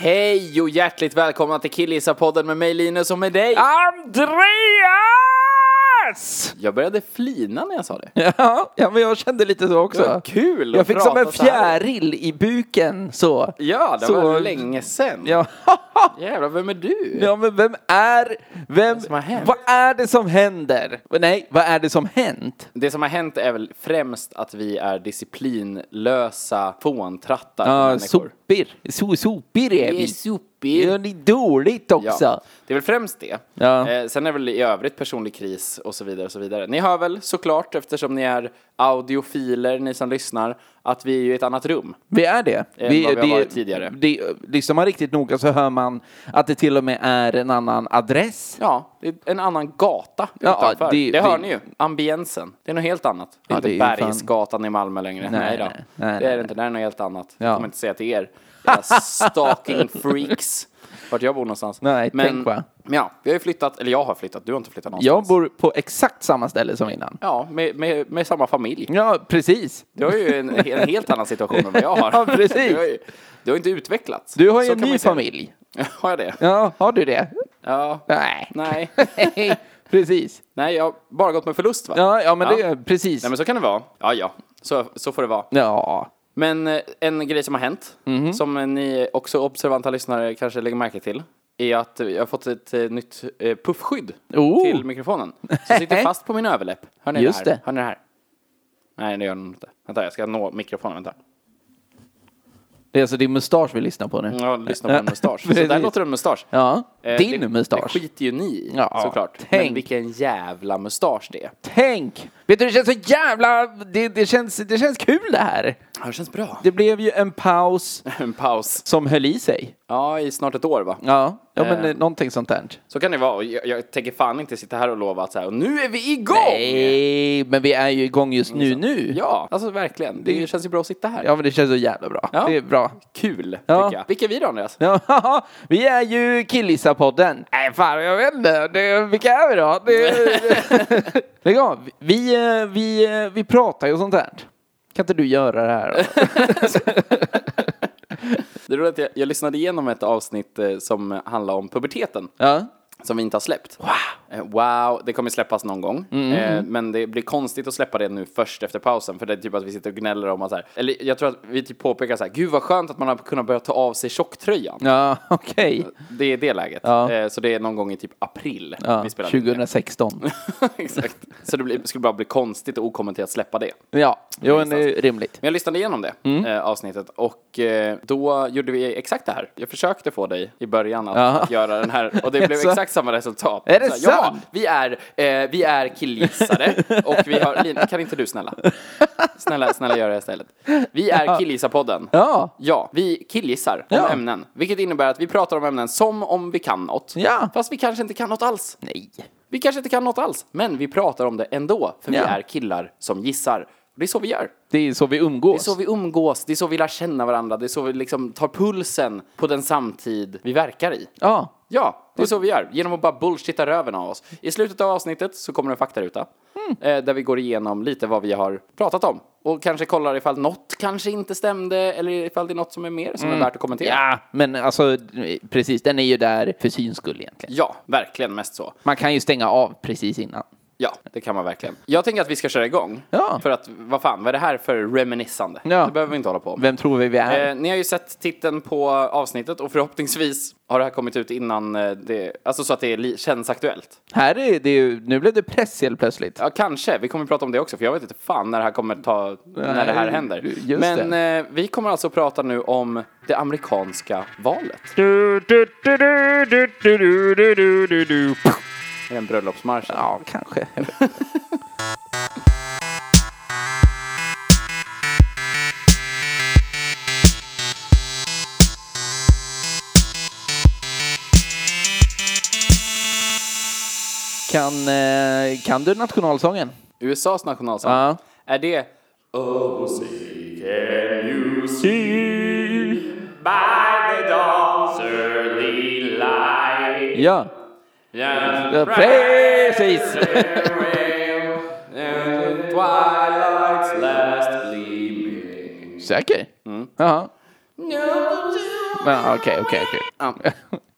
Hej och hjärtligt välkomna till Killgissarpodden med mig Linus och med Ah! dig. Andreas! Jag började flina när jag sa det. Ja, ja men jag kände lite så också. Det var kul att Jag fick som prata en så här. fjäril i buken så. Ja, det Så- var länge sen. Ja. Jävlar, vem är du? ja, men vem är... Vem, som har hänt? vad är det som händer? Nej, vad är det som hänt? Det som har hänt är väl främst att vi är disciplinlösa Ja, fåntrattar. för människor. sopor. So, sopor är Vi är vi. sopor. Ja, det är dåligt också. Ja, det är väl främst det. Ja. Eh, sen är väl i övrigt personlig kris och så vidare och så vidare. Ni hör väl såklart, eftersom ni är audiofiler, ni som lyssnar, att vi är ju i ett annat rum. Vi är det. Än vad vi har varit tidigare. Det, lyssnar man riktigt noga så hör man att det till och med är en annan adress. Ja, det är en annan gata Ja, utanför. det- Det, det- hör ni ju. Ambiensen. Det är något helt annat. Det är Ja, inte det är ju fan- Bergsgatan i Malmö längre. Nej, Nej, då. nej, nej, det är nej. det inte. Det är något helt annat. Ja. Jag kommer inte säga till er. Era stalking freaks. Vart jag bor någonstans. Nej, men, tänk va. Men ja, vi har ju flyttat. Eller jag har flyttat. Du har inte flyttat Jag någonstans. bor på exakt samma ställe som innan. Ja, med, med, med samma familj. Ja, precis. Du har ju en, en helt annan situation än vad jag har. Ja, precis. Du har, ju, du har inte utvecklats. Du har ju Så en kan man ny säga. familj. Har jag det? Ja, har du det? Ja. Nej. Nej. precis. Nej, jag har bara gått med förlust va? Ja, ja men det är precis. Nej men så kan det vara. Ja, ja. Så, så får det vara. Ja. Men eh, en grej som har hänt, Mhm. som eh, ni också observanta lyssnare kanske lägger märke till, är att eh, jag har fått ett eh, nytt eh, puffskydd Oh. till mikrofonen. Som sitter fast på min överläpp. Hör ni Just det här? det. Hör ni det här? Nej, det gör den inte. Vänta, jag ska nå mikrofonen. Vänta. Det är alltså din mustasch vi lyssnar på nu. Jag lyssnar på en mustasch. Så Precis. där låter en mustasch. Ja, Eh, din det, mustasch. Det skiter ju ni i, Ja, såklart. tänk. Men vilken jävla mustasch det är. Tänk! Vet du, det känns så jävla... Det, det, känns, det känns kul det här. Ja, det känns bra. Det blev ju en paus En paus. som höll i sig. Ja, i snart ett år va? Ja, ja men Eh. eh, någonting sånt där. Så kan det vara. Och Jag, jag tänker fan inte sitta här och lova att så här, och nu är vi igång! Nej, men vi är ju igång just nu nu. Ja, alltså verkligen. Det känns ju bra att sitta här. Ja, men det känns så jävla bra. Ja. Det är bra. Kul, Ja. tycker jag. Vilka är vi då, Andreas? Ja, vi är ju Killisa-podden. Nej, fan jag vet inte. Det, vilka är vi då? Det, Lägg av. Vi, eh, vi, eh, vi pratar ju och sånt där. Kan inte du göra det här då? Det är roligt att jag, jag lyssnade igenom ett avsnitt eh, som handlar om puberteten. Ja. Som vi inte har släppt. Wow! Eh, wow, det kommer släppas någon gång. Eh, men det blir konstigt att släppa det nu först efter pausen. För det är typ att vi sitter och gnäller om att så här. Eller jag tror att vi typ påpekar så här. Gud vad skönt att man har kunnat börja ta av sig tjocktröjan. Ja, okej. Det är det läget. Ja. Eh, så det är någon gång i typ april. Ja, vi spelar in det. 2016. Exakt. Så det blir, skulle bara bli konstigt och okommenterat släppa det. Ja, jo, men det är ju rimligt. Men jag lyssnade igenom det Mm. eh, avsnittet och eh, då gjorde vi exakt det här. Jag försökte få dig i början att Ja. göra den här och det blev Jaså? exakt samma resultat. Är det Så här, sant? Ja, vi är, eh, vi är killgissare och vi har... Lin, kan inte du snälla? Snälla, snälla gör det istället. Vi är Killgissarpodden. Ja. Ja, vi killgissar om Ja. ämnen. Vilket innebär att vi pratar om ämnen som om vi kan något. Ja. Fast vi kanske inte kan något alls. Nej. Vi kanske inte kan något alls, men vi pratar om det ändå, för Ja. vi är killar som gissar. Och Det är så vi gör. Det är så vi umgås. Det är så vi umgås, det är så vi lär känna varandra, det är så vi liksom tar pulsen på den samtid vi verkar i. Ja. Ja, det är så vi gör. Genom att bara bullshitta röven av oss. I slutet av avsnittet så kommer en faktaruta. Hmm. Eh, där vi går igenom lite vad vi har pratat om. Och kanske kollar ifall något kanske inte stämde eller ifall det är något som är mer som är värt att kommentera. Mm. Ja, men alltså precis, den är ju där för syns skull egentligen. ja, verkligen mest så. Man kan ju stänga av precis innan. Ja, det kan man verkligen. Jag tänker att vi ska köra igång. Ja. För att, vad fan, vad är det här för reminissande? Ja. Det behöver vi inte hålla på med. Vem tror vi vi är? Eh, ni har ju sett titeln på avsnittet och förhoppningsvis har det här kommit ut innan eh, det, alltså så att det är li- känns aktuellt. Här är det ju, nu blev det press helt plötsligt. Ja, kanske. Vi kommer prata om det också, för jag vet inte fan när det här kommer ta, när det här Nej, händer. just Men Eh, vi kommer alltså prata nu om det amerikanska valet. Är det en bröllopsmarsch? Ja, kanske. Kan, eh, kan du nationalsången? USAs nationalsång. Ja. Är det... Oh, see, can you see by the dawn's early light? Ja. Yeah, ja precis! Twilight's last gleaming. Mm. Säker? Jaha. Men okej, okej, okej. Ja.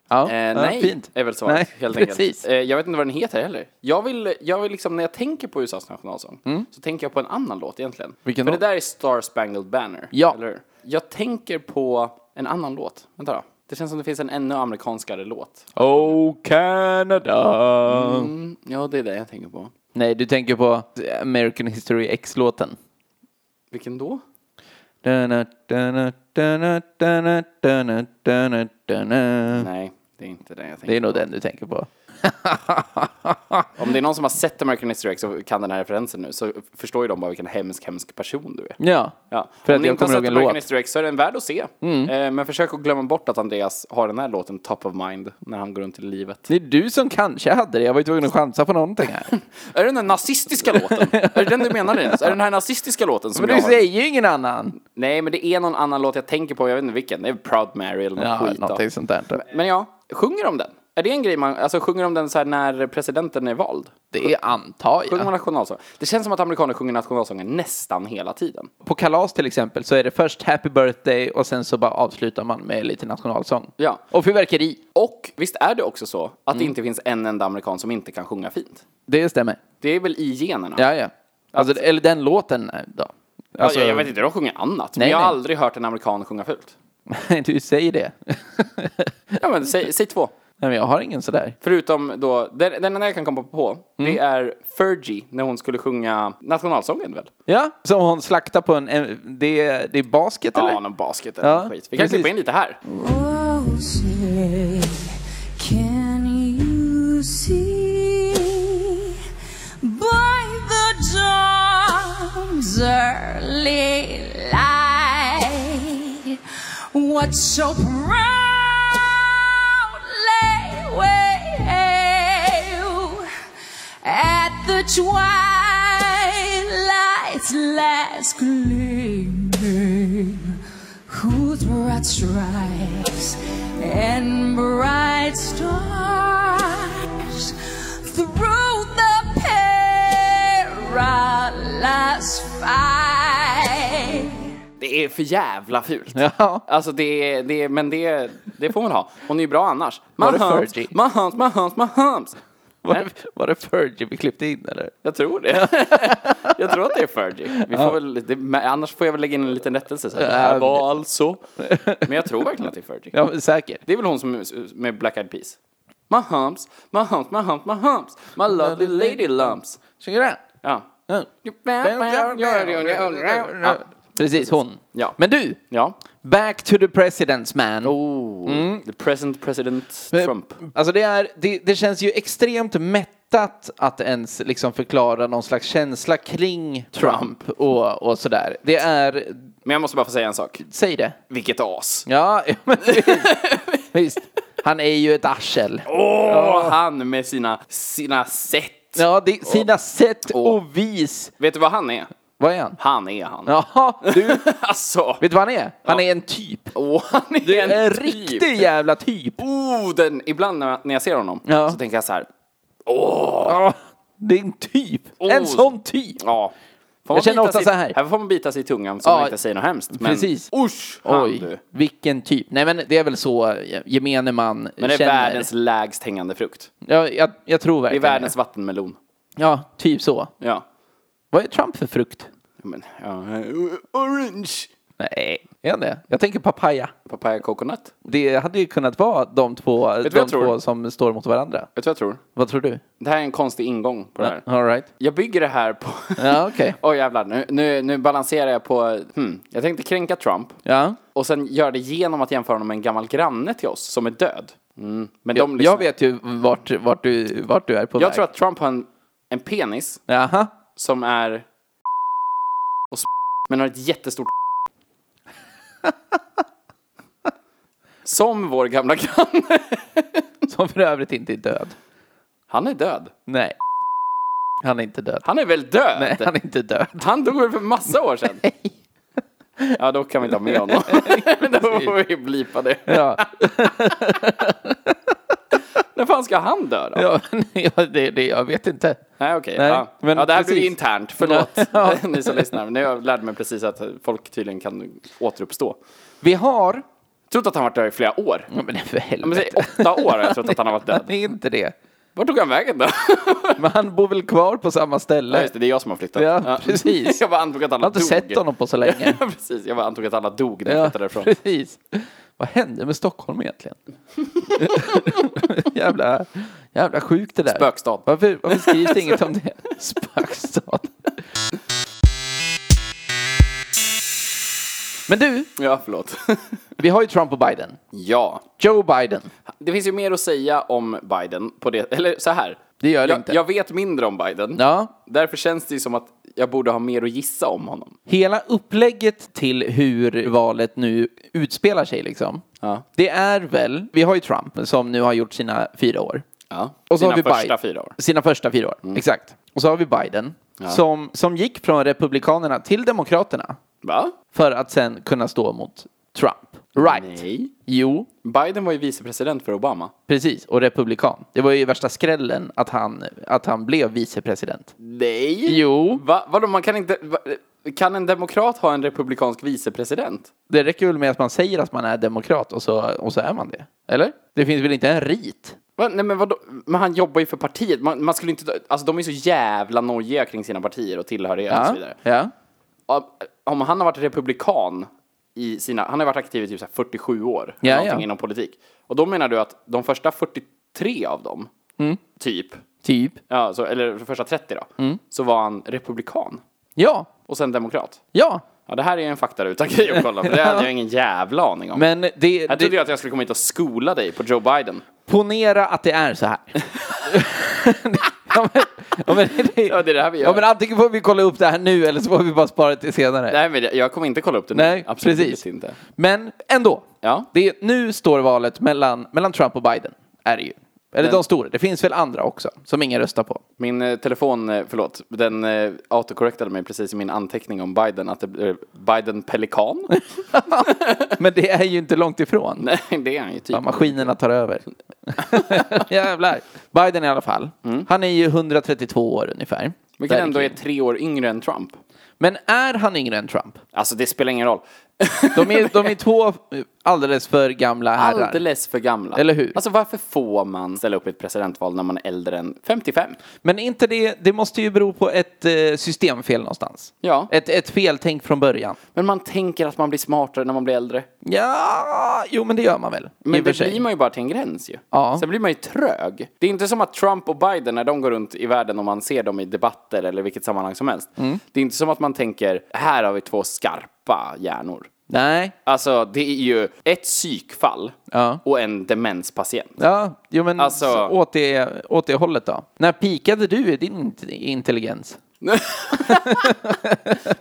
Ja, Eh, ja, nej, fint. är väl svaret. Nej, helt precis. enkelt. Eh, jag vet inte vad den heter heller. Jag vill, jag vill liksom, när jag tänker på USAs nationalsång så tänker jag på en annan låt egentligen. Mm. Vilken För då? det där är Star Spangled Banner. Ja. Eller? hur? Jag tänker på en annan låt. Vänta då. Det känns som det finns en ännu amerikanskare låt. Oh Canada! Mm, ja, det är det jag tänker på. Nej, du tänker på American History X-låten. Vilken Mm. då? Da-na, da-na, da-na, da-na, da-na, da-na, da-na. Nej, det är inte den jag tänker Det är nog den du tänker på. Om det är någon som har sett American History X och kan den här referensen nu så förstår ju de bara vilken hemsk, hemsk person du är. Ja, Ja. för Om att ni jag inte har kommer ihåg sett en American låt. Mm. History X så är den värd att se. Eh, men försök att glömma bort att Andreas har den här låten top of mind när han går runt i livet. Det är du som kanske hade det. Jag var ju tvungen att chansa på någonting här. Är det den där nazistiska låten? är det den du menar Linus? Är det den här nazistiska låten som Men jag du har? säger ju ingen annan. Nej, men det är någon annan låt jag tänker på. Jag vet inte vilken. Det är Proud Mary eller något Ja, skit. då. någonting sånt där. Men ja, sjunger de den? Är det en grej man, alltså sjunger de den så här när presidenten är vald? Det antar Sjunger man jag. nationalsång? Det känns som att amerikaner sjunger nationalsången nästan hela tiden. På kalas till exempel så är det först happy birthday och sen så bara avslutar man med lite nationalsång. Ja. Och fyrverkeri. Och visst är det också så att Mm. det inte finns en enda amerikan som inte kan sjunga fint? Det stämmer. Det är väl i generna? Ja, ja. Alltså, eller den låten eh, då. Alltså, jag, jag vet inte, de sjunger annat. Nej, men jag har nej. aldrig hört en amerikan sjunga fult. Alltså, du säger det. Ja, men säg, säg två. Nej, men jag har ingen sådär. Förutom då, den, den enda jag kan komma på, det Mm. är Fergie när hon skulle sjunga nationalsången väl? Ja, som hon slaktar på en... en det, det är basket eller? Ja, någon basket eller Ja, någon skit. Vi kan precis. klippa in lite här. Oh, say, can you see by the dawn's early light what so proudly wave at the twilight's last gleaming? whose broad stripes and bright stars through the perilous fight. Det är för jävla fult. Ja. Alltså det, är- det, är- men det, det får man ha. Hon är ju bra annars. Var My det humps, Fergie? my humps, my humps, my humps. Var, det- var det Fergie vi klippte in eller? Jag tror det. jag tror att det är Fergie. Vi får väl, det, men annars får jag väl lägga in en liten rättelse. Så här, det här var alltså. Men jag tror verkligen att det är Fergie. Ja, men säkert. Det är väl hon som med Black Eyed Peas. My humps, my humps, my humps, my humps. My lovely lady lumps. Sjunger den? Ja. Ja. Precis, hon. Ja. Men du, Ja. back to the presidents man. Oh, The present president Trump. Alltså det, är, det, det känns ju extremt mättat att ens liksom förklara någon slags känsla kring Trump och, och sådär. Det är, Men jag måste bara få säga en sak. säg det. Vilket as. Ja, ja, men visst. Han är ju ett arsel. Åh, han med sina, sina sätt. Ja, det, sina sätt Åh. och vis. Vet du vad han är? Vad är han? Han är han. Jaha, du. Vet alltså. du vad han är? Han Ja. är en typ. Åh, han är en, En typ. riktig jävla typ. Oh, den, ibland när, när jag ser honom Ja. så tänker jag så här. Ja, det är en typ. En Oh. sån typ. Ja. Får man Jag känner bita ofta sig, så här. Här får man bita sig i tungan så Ja. man inte säger något hemskt. Men, Precis. Usch, han du. Oj, vilken typ. Nej men det är väl så eh, gemene man Men det är känner. världens lägst hängande frukt. Ja, jag, jag tror Det är verkligen världens vattenmelon. Ja, typ så. Ja. Vad är Trump för frukt? Men, ja. eh, Orange! Nej, är han det? Jag tänker papaya. Papaya coconut. Det hade ju kunnat vara de två, du vad de jag tror? två som står mot varandra. Vet du vad jag tror? Vad tror du? Det här är en konstig ingång på det här. All right. Jag bygger det här på... Ja, okej. Oj jävlar, nu, nu, nu balanserar jag på... Hmm. Jag tänkte kränka Trump. Ja. Och sen göra det genom att jämföra honom med en gammal granne till oss som är död. Mm. Men de lyssnar- Jag vet ju vart, vart, du, vart du är på jag väg. tror att Trump har en, en penis Jaha. som är... Och s- men har ett jättestort... som vår gamla granne. Som för övrigt inte är död. Han är död. Nej. Han är inte död. Han är väl död? Nej, han är inte död. Han dog väl för massa år sedan? Ja, då kan vi inte ha med honom. då får vi blipa det. Ja, När fan ska han dö då? ja, ja det, det, jag vet inte. Nej, okej. Nej, ja. men ja, det här precis. blir internt. Förlåt, Ja. ni som lyssnar. Nu har jag lärt mig precis att folk tydligen kan återuppstå. Vi har... Trott att han varit död i flera år. Ja, men för Ja, Men, helvete. säg åtta år har jag trott att han har varit död. Han är inte det. Vart tog han vägen då? Men han bor väl kvar på samma Ja, ställe. just det, det är jag som har flyttat. Ja, precis. Jag bara antog att alla Jag har inte dog. sett honom på så länge. Ja, precis. Jag bara antog att alla dog när jag Ja, flyttade därifrån. precis. Vad hände med Stockholm egentligen? jävla, jävla sjukt det där. Spökstad. Varför, varför skrivs det inget om det? Spökstad. Men du, Ja, förlåt. vi har ju Trump och Biden. ja. Joe Biden. Det finns ju mer att säga om Biden på det, eller så här. Det gör det jag, inte. jag vet mindre om Biden. Ja, Därför känns det ju som att jag borde ha mer att gissa om honom. hela upplägget till hur valet nu utspelar sig liksom. Ja. Det är väl, vi har ju Trump som nu har gjort sina fyra år. Ja. Och så Sina har vi första Biden. fyra år. Mm. Sina första fyra år, exakt. Och så har vi Biden som, som gick från Republikanerna till Demokraterna Va? för att sen kunna stå mot Trump. Right. Nej. Jo, Biden var ju vicepresident för Obama. precis. Och republikan. Det var ju värsta skrällen att han, att han blev vicepresident. Nej. Jo, Va? Vadå, man kan inte... Va? Kan en demokrat ha en republikansk vicepresident? det räcker väl med att man säger att man är demokrat och så, och så är man det. Eller? Det finns väl inte en rit? Va? Nej men vadå? Men han jobbar ju för partiet. Man, man skulle inte... Alltså de är så jävla nojiga kring sina partier och tillhörighet och så vidare. ja. om- om han har varit republikan i sina, han har varit aktiv i typ så här 47 år, Ja, eller någonting ja. inom politik. Och då menar du att de första 43 av dem, Mm. typ, Typ. ja, så, eller de första 30 då, Mm. så var han republikan Ja. och sen demokrat. Ja. Ja, det här är en faktaruta grej att kolla på, det hade jag ingen jävla aning om. Men det... här trodde det jag att jag skulle komma hit och skola dig på Joe Biden. ponera att det är så här. ja, men, ja, men, det, Ja, det är det här vi gör. ja, men antingen får vi kolla upp det här nu eller så får vi bara spara det till senare. Nej, men jag kommer inte kolla upp det nu. Nej, Absolut precis. inte. Men ändå. Ja. Det, är- nu står valet mellan, mellan Trump och Biden. Är det ju. Eller Men- de stora. Det finns väl andra också som ingen röstar på. Min eh, telefon, eh, förlåt, den eh, autocorrectade mig precis i min anteckning om Biden, att det blir Biden Pelikan. Men det är ju inte långt ifrån. Nej, det är han ju typ. Ja, maskinerna tar över. Jävlar. Biden i alla fall. Han är ju 132 år ungefär. Vilken Där Mm. ändå är kring. tre år yngre än Trump. Men är han yngre än Trump? Alltså det spelar ingen roll. De är, de är två alldeles för gamla herrar. Alldeles för gamla. Eller hur? Alltså varför får man ställa upp i ett presidentval när man är äldre än 55? Men inte det, det måste ju bero på ett eh, systemfel någonstans. Ja. Ett, ett feltänk från början. Men man tänker att man blir smartare när man blir äldre. Ja, jo men det gör man väl. i Men och för det sig. blir man ju bara till en gräns ju. Ja. Sen blir man ju trög. Det är inte som att Trump och Biden, när de går runt i världen och man ser dem i debatter eller vilket sammanhang som helst. Mm. Det är inte som att man tänker, här har vi två skarpa hjärnor. Nej, Alltså det är ju ett psykfall Ja. och en demenspatient. ja, jo men Alltså- så åt, det, åt det hållet då. När pikade du i din int- intelligens?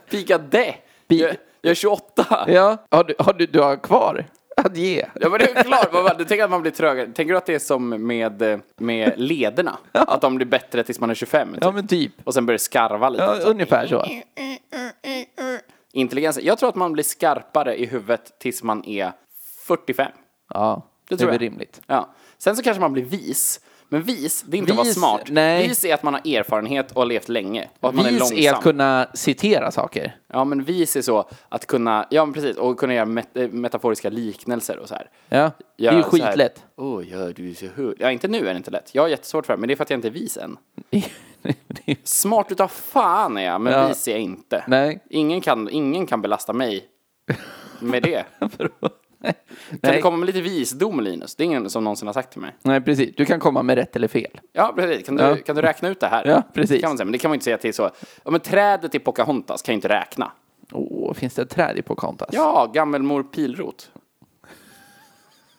Pikade! Pi- Jag, jag är 28! Ja. Ja, har du, har du, du har kvar att ge? men det är klart, Vad- vad- du tänker att man blir trögare. Tänker du att det är som med, eh, med lederna? Att de blir bättre tills man är 25? Typ. Ja men typ. Och sen börjar det skarva lite. Ja, så. ungefär så. Intelligensen. Jag tror att man blir skarpare i huvudet tills man är 45. Ja, det, tror är väl jag. rimligt. Ja. Sen så kanske man blir vis. Men vis, det är inte att vara Vis, smart. nej. Vis är att man har erfarenhet och har levt länge. Och att man är Vis långsam. är att kunna citera saker. Ja, men vis är så att kunna, ja men precis, och kunna göra met- eh, metaforiska liknelser och så här. Ja, det är ju Göra så här, skitlätt. Åh, ja, du är så hur. Ja, inte nu är det inte lätt. Jag har jättesvårt för det, men det är för att jag inte är vis än. Smart utav fan är jag, men Ja. vis är jag inte. Nej. Ingen kan, ingen kan belasta mig med det. kan du Nej. komma med lite visdom, Linus? Det är ingen som någonsin har sagt till mig. Nej, precis. Du kan komma med rätt eller fel. Ja, precis. Kan du, Ja. Kan du räkna ut det här? Ja, precis. Det kan man säga, men det kan man inte säga till så. Ja, men trädet i Pocahontas kan ju inte räkna. Åh, finns det ett träd i Pocahontas? Ja, gammelmor Pilrot.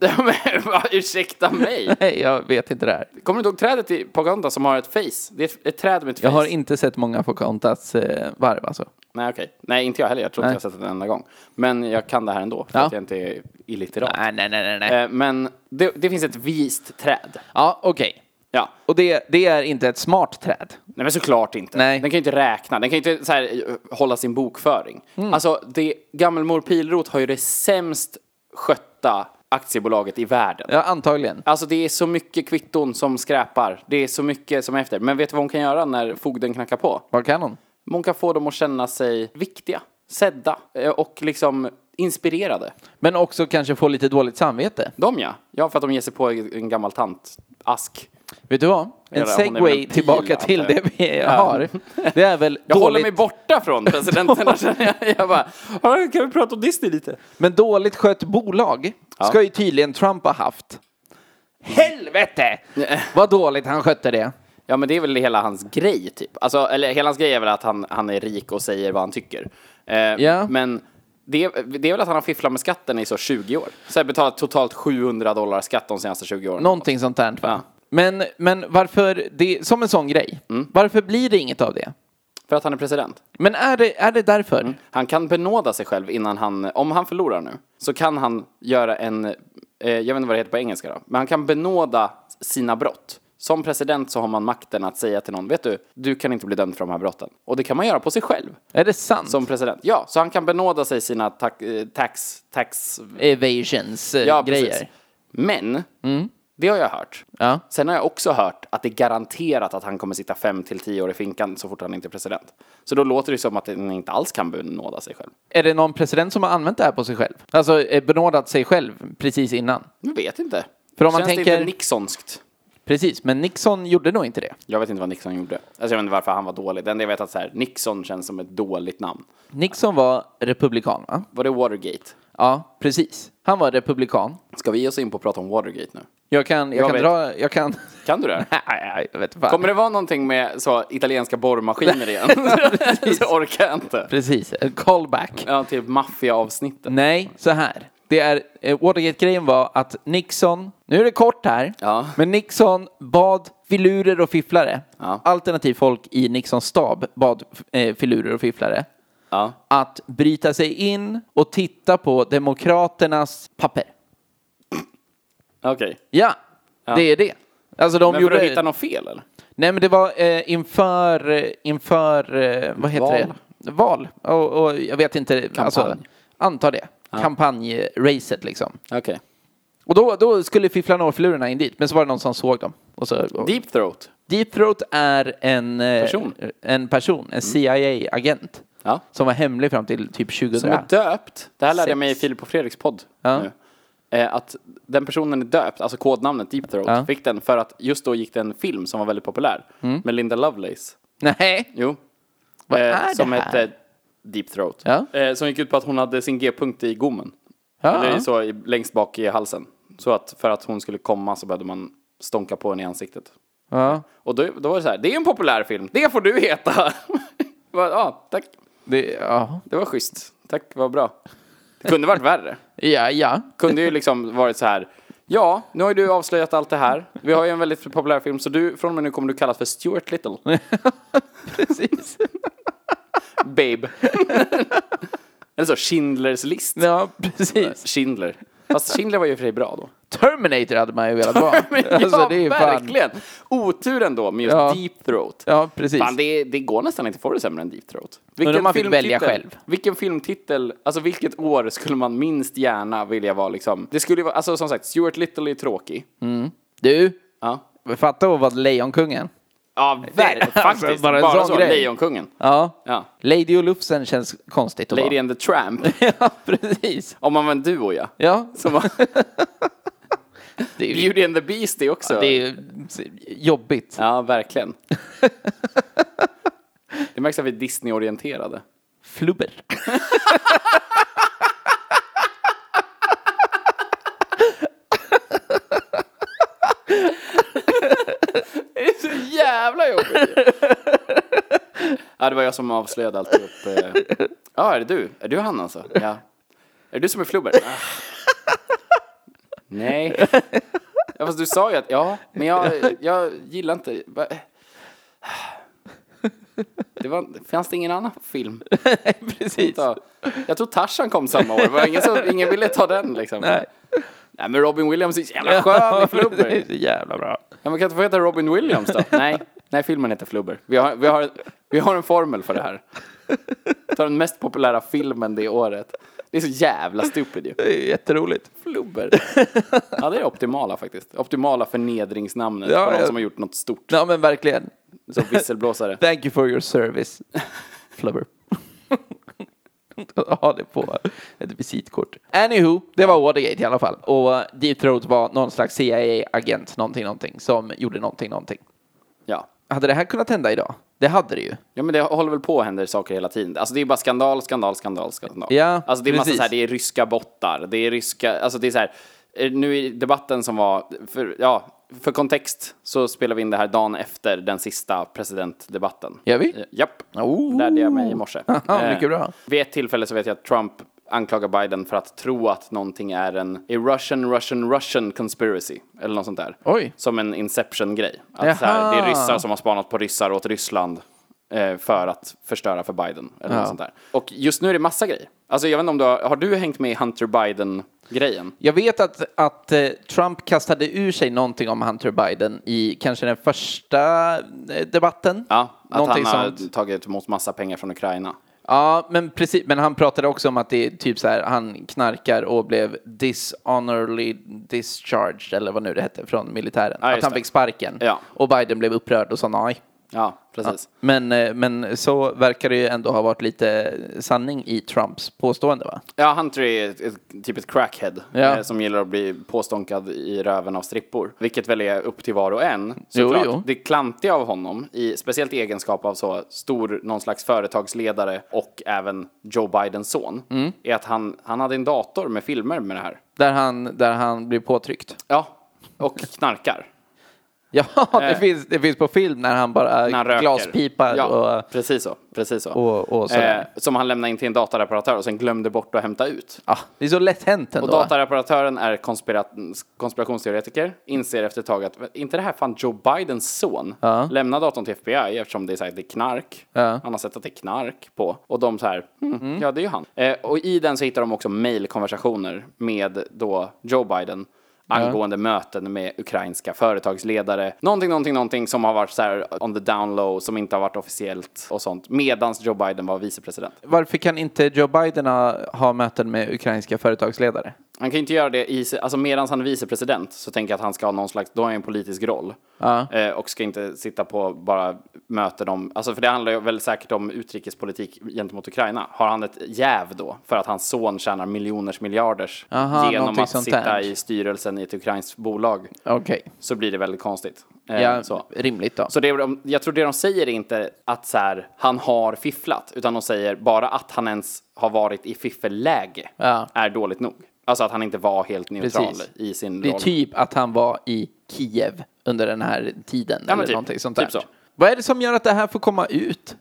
Nej, men, va, Ursäkta mig. Nej, jag vet inte det här. Kommer du ihåg trädet i Pocahontas som har ett face? Det är ett, ett träd med ett Jag face. har inte sett många Pocahontas eh, varv alltså. Nej, okej. Nej, inte jag heller. Jag tror inte Nej. jag har sett det en enda gång. Men jag kan det här ändå, för Ja. att jag inte är Eh, illitterat. nej, nej, nej. Eh, Men det, det finns ett vist träd. Ja, okej. Ja. Och det, det är inte ett smart träd. Nej men såklart inte. Nej. Den kan ju inte räkna, den kan ju inte så här, eh, hålla sin bokföring. Mm. Alltså, det, gammelmor Pilrot har ju det sämst skötta aktiebolaget i världen. Ja, antagligen. Alltså det är så mycket kvitton som skräpar. Det är så mycket som är efter. Men vet du vad hon kan göra när fogden knackar på? Vad kan hon? Hon kan få dem att känna sig viktiga, sedda eh, och liksom inspirerade. Men också kanske få lite dåligt samvete. De ja. Ja, för att de ger sig på en gammal tantask. Vet du vad? En Eller, hon är väl en segway pil, tillbaka till antar det jag. vi har. Det är väl Jag håller dåligt, mig borta från presidenterna känner jag. Jag bara, "Ja, kan vi prata om Disney lite? men dåligt skött bolag ska ju tydligen Trump ha haft. Helvete! Vad dåligt han skötte det. Ja men det är väl hela hans grej typ. Alltså, eller hela hans grej är väl att han, han är rik och säger vad han tycker. Eh, Ja. Men det, är- det är väl att han har fifflat med skatten i så 20 år. Så jag har betalat totalt 700 dollar skatt de senaste 20 åren. Någonting sånt där. Ja. Va? Men, men varför, det, som en sån grej, Mm. varför blir det inget av det? För att han är president. Men är det, är det därför? Han kan benåda sig själv innan han, om han förlorar nu, så kan han göra en, eh, jag vet inte vad det heter på engelska då, men han kan benåda sina brott. Som president så har man makten att säga till någon, vet du, du kan inte bli dömd för de här brotten. Och det kan man göra på sig själv Är det sant? som president. Ja, så han kan benåda sig sina ta- eh, tax, tax, Evasions eh, ja, precis. grejer. Mm. Men, det har jag hört. Ja. Sen har jag också hört att det är garanterat att han kommer sitta fem till tio år i finkan så fort han inte är president. Så då låter det som att han inte alls kan benåda sig själv. Är det någon president som har använt det här på sig själv? Alltså eh, benådat sig själv precis innan? Jag vet inte. För om man Känns det tänker- inte Nixonskt? Precis, men Nixon gjorde nog inte det. Jag vet inte vad Nixon gjorde. Alltså jag vet inte varför han var dålig. Den jag vet att så här, Nixon känns som ett dåligt namn. Nixon var republikan, va? Var det Watergate? Ja, precis. Han var republikan. Ska vi ge oss in på att prata om Watergate nu? Jag kan, jag Jag kan vet. dra, jag kan... Kan du det? Nej, nej, jag vet fan. Kommer det vara någonting med så italienska borrmaskiner igen? så orkar jag inte. Precis, en callback. Ja, typ maffiaavsnittet. Nej, så här. Det är, eh, Watergate-grejen var att Nixon, nu är det kort här, Ja. men Nixon bad filurer och fifflare, Ja. alternativ folk i Nixons stab bad eh, filurer och fifflare, Ja. att bryta sig in och titta på demokraternas papper. Okej. Ja, det är det. Alltså de Men för gjorde... att hitta något fel eller? Nej men det var eh, inför, eh, inför, eh, vad heter Val. det? Val. Och, och jag vet inte, alltså, Kampanj. anta det. Kampanjracet liksom. Okej. Och då, då skulle fifflarna och filurerna in dit, men så var det någon som såg dem. Och så, och Deep throat. Deep Throat är en eh, Person. Mm. en, person, en CIA-agent. Ja. Som var hemlig fram till typ Som 2000. är döpt. Det här lärde jag mig i Sex. Filip och Fredriks podd. Ja. Nu. Eh, Att den personen är döpt, alltså kodnamnet Deep Throat, Ja. Mm. fick den för att just då gick det en film som var väldigt populär med Linda Lovelace. Nej, Jo. vad Eh, är som det här? hette Deep Throat. Ja. Eh, som gick ut på att hon hade sin G-punkt i gommen. Ja. Eller så i, längst bak i halsen. Så att för att hon skulle komma så behövde man stånka på henne i ansiktet. Ja. Och då, då var det så här, det är en populär film, det får du heta! Bara, ja, tack. Det, ja. Det var schysst. Tack, vad bra. Det kunde varit värre. ja, ja. Kunde ju liksom varit så här. Ja, nu har ju du avslöjat allt det här. Vi har ju en väldigt populär film, så du, från och med nu kommer du kallas för Stuart Little. Precis. Babe. Eller så, Schindlers list. Eh, Ja, precis. Schindler. Fast Schindler var ju för sig bra då. Terminator hade man ju velat vara. ja, alltså, ju fan- verkligen. Oturen då med just Ja. Deep Throat. Ja, precis. Fan, det, det går nästan inte att få det sämre än Deep Throat. Vilken om man fick välja filmtitel- själv. Vilken filmtitel, alltså vilket år skulle man minst gärna vilja vara liksom? Det skulle ju vara, alltså som sagt, Stuart Little är tråkig. Mm. Du, Ja. fatta att vara Lejonkungen. Ja, verkligen. Alltså, Faktiskt. bara bara en sån så. grej. Lejonkungen. Ja. Ja. Lady och Lufsen känns konstigt att Lady vara. and the Tramp. ja, precis. Om man var en duo, ja. Ja, Som var det är ju Beauty and the Beast det också. det är ju jobbigt. Ja, verkligen. Det märks att vi är Disney-orienterade. Flubber. Jävla jobbigt! Ja, det var jag som avslöjade alltihop. eh. Ja, är det du? Är du han alltså? Ja. Är det du som är flubber? Ah. Nej. Ja, fast du sa ju att, ja, men jag, jag gillar inte... va- Det var, fanns det ingen annan film? precis. Ta- Jag tror Tarzan kom samma år, Det var ingen, som, ingen ville ta den liksom. Nej. men Robin Williams är så jävla skön i flubber. Det är så jävla bra. Ja, man kan inte få heta Robin Williams då? Nej, nej filmen heter Flubber. Vi har, vi, har, vi har en formel för det här. Ta den mest populära filmen det året. Det är så jävla stupid ju. Det är jätteroligt. Flubber. Ja, det är det optimala faktiskt. Optimala förnedringsnamnet Ja, på någon ja. som har gjort något stort. Ja men verkligen. Som visselblåsare. Thank you for your service. Flubber. ha det på ett visitkort. Anywho, det var Watergate i alla fall. Och Deep Throat var någon slags CIA-agent, någonting, någonting, som gjorde någonting, någonting. Ja. Hade det här kunnat hända idag? Det hade det ju. Ja men det håller väl på att händer saker hela tiden. Alltså det är bara skandal, skandal, skandal, skandal. Ja, alltså det är massa precis. så här, det är ryska bottar, det är ryska, alltså det är så här, eh, nu i debatten som var, för, ja, för kontext så spelar vi in det här dagen efter den sista presidentdebatten. Gör vi? Eh, Japp, Oh. lärde jag mig i morse. Aha, Eh, mycket bra. Vid ett tillfälle så vet jag att Trump anklagar Biden för att tro att någonting är en a Russian, Russian, Russian conspiracy. Eller något sånt där. Oj. Som en Inception-grej. Att så här, Jaha. det är ryssar som har spanat på ryssar åt Ryssland eh, för att förstöra för Biden. Eller något sånt där. Och just nu är det massa grejer. Alltså jag vet inte om du har, har du hängt med i Hunter Biden-grejen? Jag vet att, att eh, Trump kastade ur sig någonting om Hunter Biden i kanske den första eh, debatten. Ja, att någonting han har sånt. tagit emot massa pengar från Ukraina. Ja, men precis. Men han pratade också om att det är typ så här, han knarkar och blev dishonorably discharged, eller vad nu det hette, från militären. Ja, just att han det. fick sparken. Ja. Och Biden blev upprörd och sa nej. Ja, precis. Men, eh, men så verkar det ju ändå ha varit lite sanning i Trumps påstående, va? Ja, Hunter är ett, ett, typ ett crackhead Ja. eh, som gillar att bli påstånkad i röven av strippor. Vilket väl är upp till var och en. Jo, såklart. jo. Det klantiga av honom, i, speciellt i egenskap av så stor, någon slags företagsledare och även Joe Bidens son, Mm. är att han, han hade en dator med filmer med det här. Där han, där han blir påtryckt. Ja, och knarkar. Ja, det, Eh. finns, det finns på film när han bara När han röker. glaspipar ja, och... precis så. Precis så. Eh, och- och sådär. som han lämnade in till en datareparatör och sen glömde bort att hämta ut. Ja, det är så lätt hänt ändå. Och datareparatören är konspira- konspirationsteoretiker, inser efter ett tag att "Vä- inte det här fan Joe Bidens son? Ja. Lämna datorn till FBI eftersom det är, så här, det är knark. Ja. Mm. Han har sett att det är knark på. Och de så här, "Hmm, ja det är ju han. Eh, och i den så hittar de också mejlkonversationer med då Joe Biden angående möten med ukrainska företagsledare. Någonting, någonting, någonting som har varit så här on the down low, som inte har varit officiellt och sånt. Medans Joe Biden var vicepresident. Varför kan inte Joe Biden ha, ha möten med ukrainska företagsledare? Han kan ju inte göra det i, alltså medan han är vicepresident så tänker jag att han ska ha någon slags, då har han ju en politisk roll. Eh, och ska inte sitta på bara möten om, alltså för det handlar ju väl säkert om utrikespolitik gentemot Ukraina. Har han ett jäv då för att hans son tjänar miljoners miljarders Aha, genom någonting att sånt sitta där. i styrelsen i ett ukrainskt bolag Okej. så blir det väldigt konstigt. Eh, Ja, så. rimligt då. Så Alltså det de, jag tror det de säger är inte att så här, han har fifflat, utan de säger bara att han ens har varit i fiffelläge Ja. är dåligt nog. Alltså att han inte var helt neutral Precis. i sin det är roll. typ att han var i Kiev under den här tiden eller typ. någonting sånt där. Typ så. Vad är det som gör att det här får komma ut?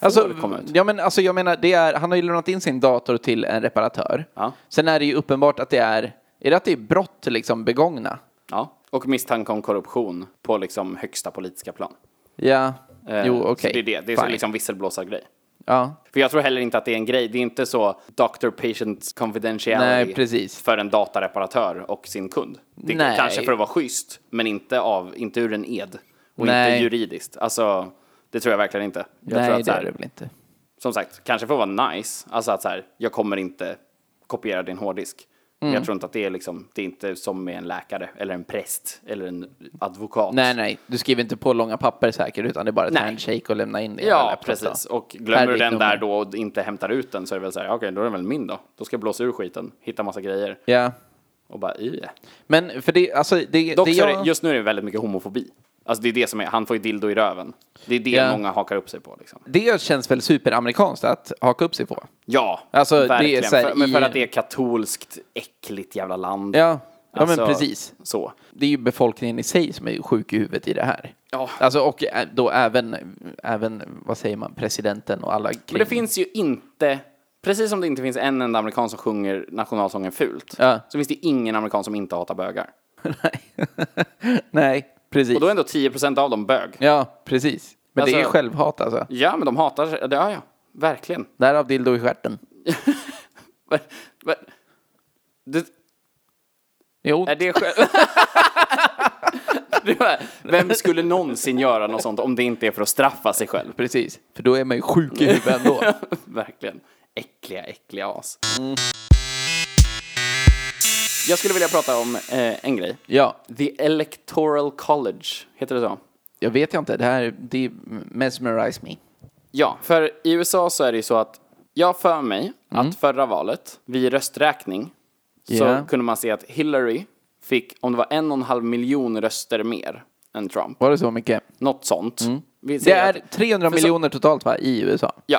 Alltså, det komma ut? Ja, men, alltså, jag menar, det är, han har ju lånat in sin dator till en reparatör. Ja. Sen är det ju uppenbart att det är, är det att det är brott liksom begångna? ja. Och misstanke om korruption på liksom högsta politiska plan. Ja, Eh, jo okej. så Det är det, det är så Fine. liksom visselblåsargrej. Ja. För jag tror heller inte att det är en grej, det är inte så doctor patient confidentiality Nej, precis. för en datareparatör och sin kund. Det är Nej. kanske för att vara schysst, men inte, av, inte ur en ed och Nej. inte juridiskt. Alltså, det tror jag verkligen inte. Jag tror Nej, att, så det här, är det väl inte. som sagt, kanske för att vara nice, alltså att så här, jag kommer inte kopiera din hårddisk. Men Mm. jag tror inte att det är liksom, det är inte som med en läkare eller en präst eller en advokat. Nej, nej, du skriver inte på långa papper säkert, utan det är bara ett Nej. handshake och lämna in det. i en Ja, laptop precis. då. Och glömmer du Färdigt den nummer. där då och inte hämtar ut den så är det väl så här, okej, då är den väl min då. Då ska jag blåsa ur skiten, hitta massa grejer Ja. och bara, yeah. Men för det, alltså, det, Dock det så är jag... det, just nu är det väldigt mycket homofobi. Alltså det är det som är, han får ju dildo i röven. Det är det Ja. många hakar upp sig på liksom. Det känns väl superamerikanskt att haka upp sig på. Ja, Alltså, det är verkligen. så här för, men för i- att det är katolskt, äckligt jävla land. Ja, ja Alltså, men precis. Så. Det är ju befolkningen i sig som är sjuk i huvudet i det här. Ja. Alltså, och ä- då även, även, vad säger man, presidenten och alla kring. Men det finns ju inte, precis som det inte finns en enda amerikan som sjunger nationalsången fult, Ja. så finns det ingen amerikan som inte hatar bögar. Nej, precis. Och då är ändå 10% av dem bög. Ja, Ja, precis. Men det är ju Alltså- självhat alltså. men de hatar sig. Ja, ja. Verkligen. Därav dildo i stjärten. Va- va- Det, Jo, är det själv... Det var- Vem skulle någonsin göra något sånt om det inte är för att straffa sig själv? Precis, för då är man ju sjuk i huvudet ändå. Verkligen. Äckliga, äckliga as. Jag skulle vilja prata om eh, en grej. Ja, The Electoral College, heter det så? jag vet jag inte. Det här, det mesmerize me. Ja, för i USA så är det ju så att jag har för mig Mm. att förra valet, vid rösträkning, Yeah. så kunde man se att Hillary fick, om det var en och en halv miljon röster mer än Trump. Var det så mycket? Något sånt. Vi Mm. Det säger är att- 300 för så- miljoner totalt va, i USA? Ja.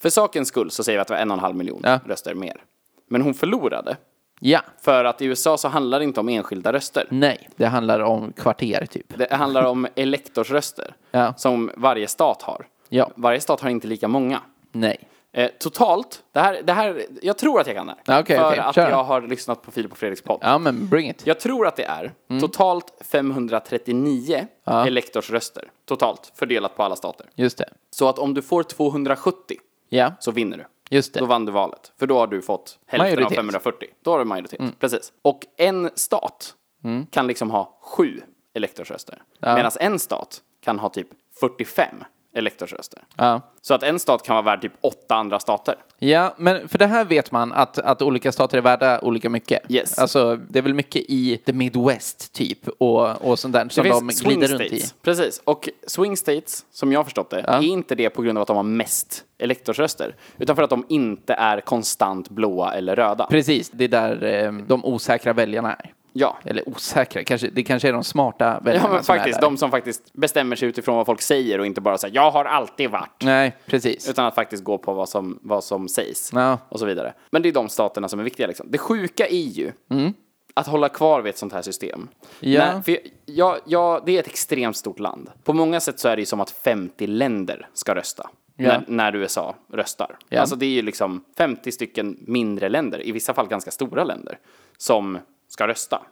För sakens skull så säger vi att det var en och en halv miljon Ja. röster mer. Men hon förlorade. Ja. För att i USA så handlar det inte om enskilda röster. Nej, det handlar om kvarter typ. Det handlar om elektorsröster. Ja. Som varje stat har. Ja. Varje stat har inte lika många. Nej. Eh, totalt, det här, det här, jag tror att jag kan det här. Ja, okej, för okej, att kör. jag har lyssnat på Filip och Fredriks podd. Ja Mm. men bring it. Jag tror att det är totalt 539 elektorsröster. Totalt, fördelat på alla stater. Just det. Så att om du får 270 Ja, så vinner du. just Då det. vann du valet. För då har du fått hälften av Majoritet. Mm. 540. Då har du majoritet. Precis. Och en stat kan liksom ha sju elektorsröster. Medan en stat kan ha typ 45 elektorsröster. Ja. Så att en stat kan vara värd typ åtta andra stater. Ja, men för det här vet man att, att olika stater är värda olika mycket. Yes. Alltså, det är väl mycket i the Midwest typ och, och sånt där som de glider runt i. Precis. Och swing states, som jag har förstått det, är inte det på grund av att de har mest elektorsröster. Utan för att de inte är konstant blåa eller röda. Precis, det är där eh, de osäkra väljarna är. Ja. Eller osäkra, kanske, det kanske är de smarta väljarna Ja men som faktiskt, är där. de som faktiskt bestämmer sig utifrån vad folk säger och inte bara säger jag har alltid varit. Nej, precis. Utan att faktiskt gå på vad som, vad som sägs. Ja. Och så vidare. Men det är de staterna som är viktiga liksom. Det sjuka är ju att hålla kvar vid ett sånt här system. Mm. Ja. för jag, jag, jag, det är ett extremt stort land. På många sätt så är det ju som att 50 länder ska rösta. Ja. När, när USA röstar. Alltså det är ju liksom 50 stycken mindre länder, i vissa fall ganska stora länder, som ska rösta.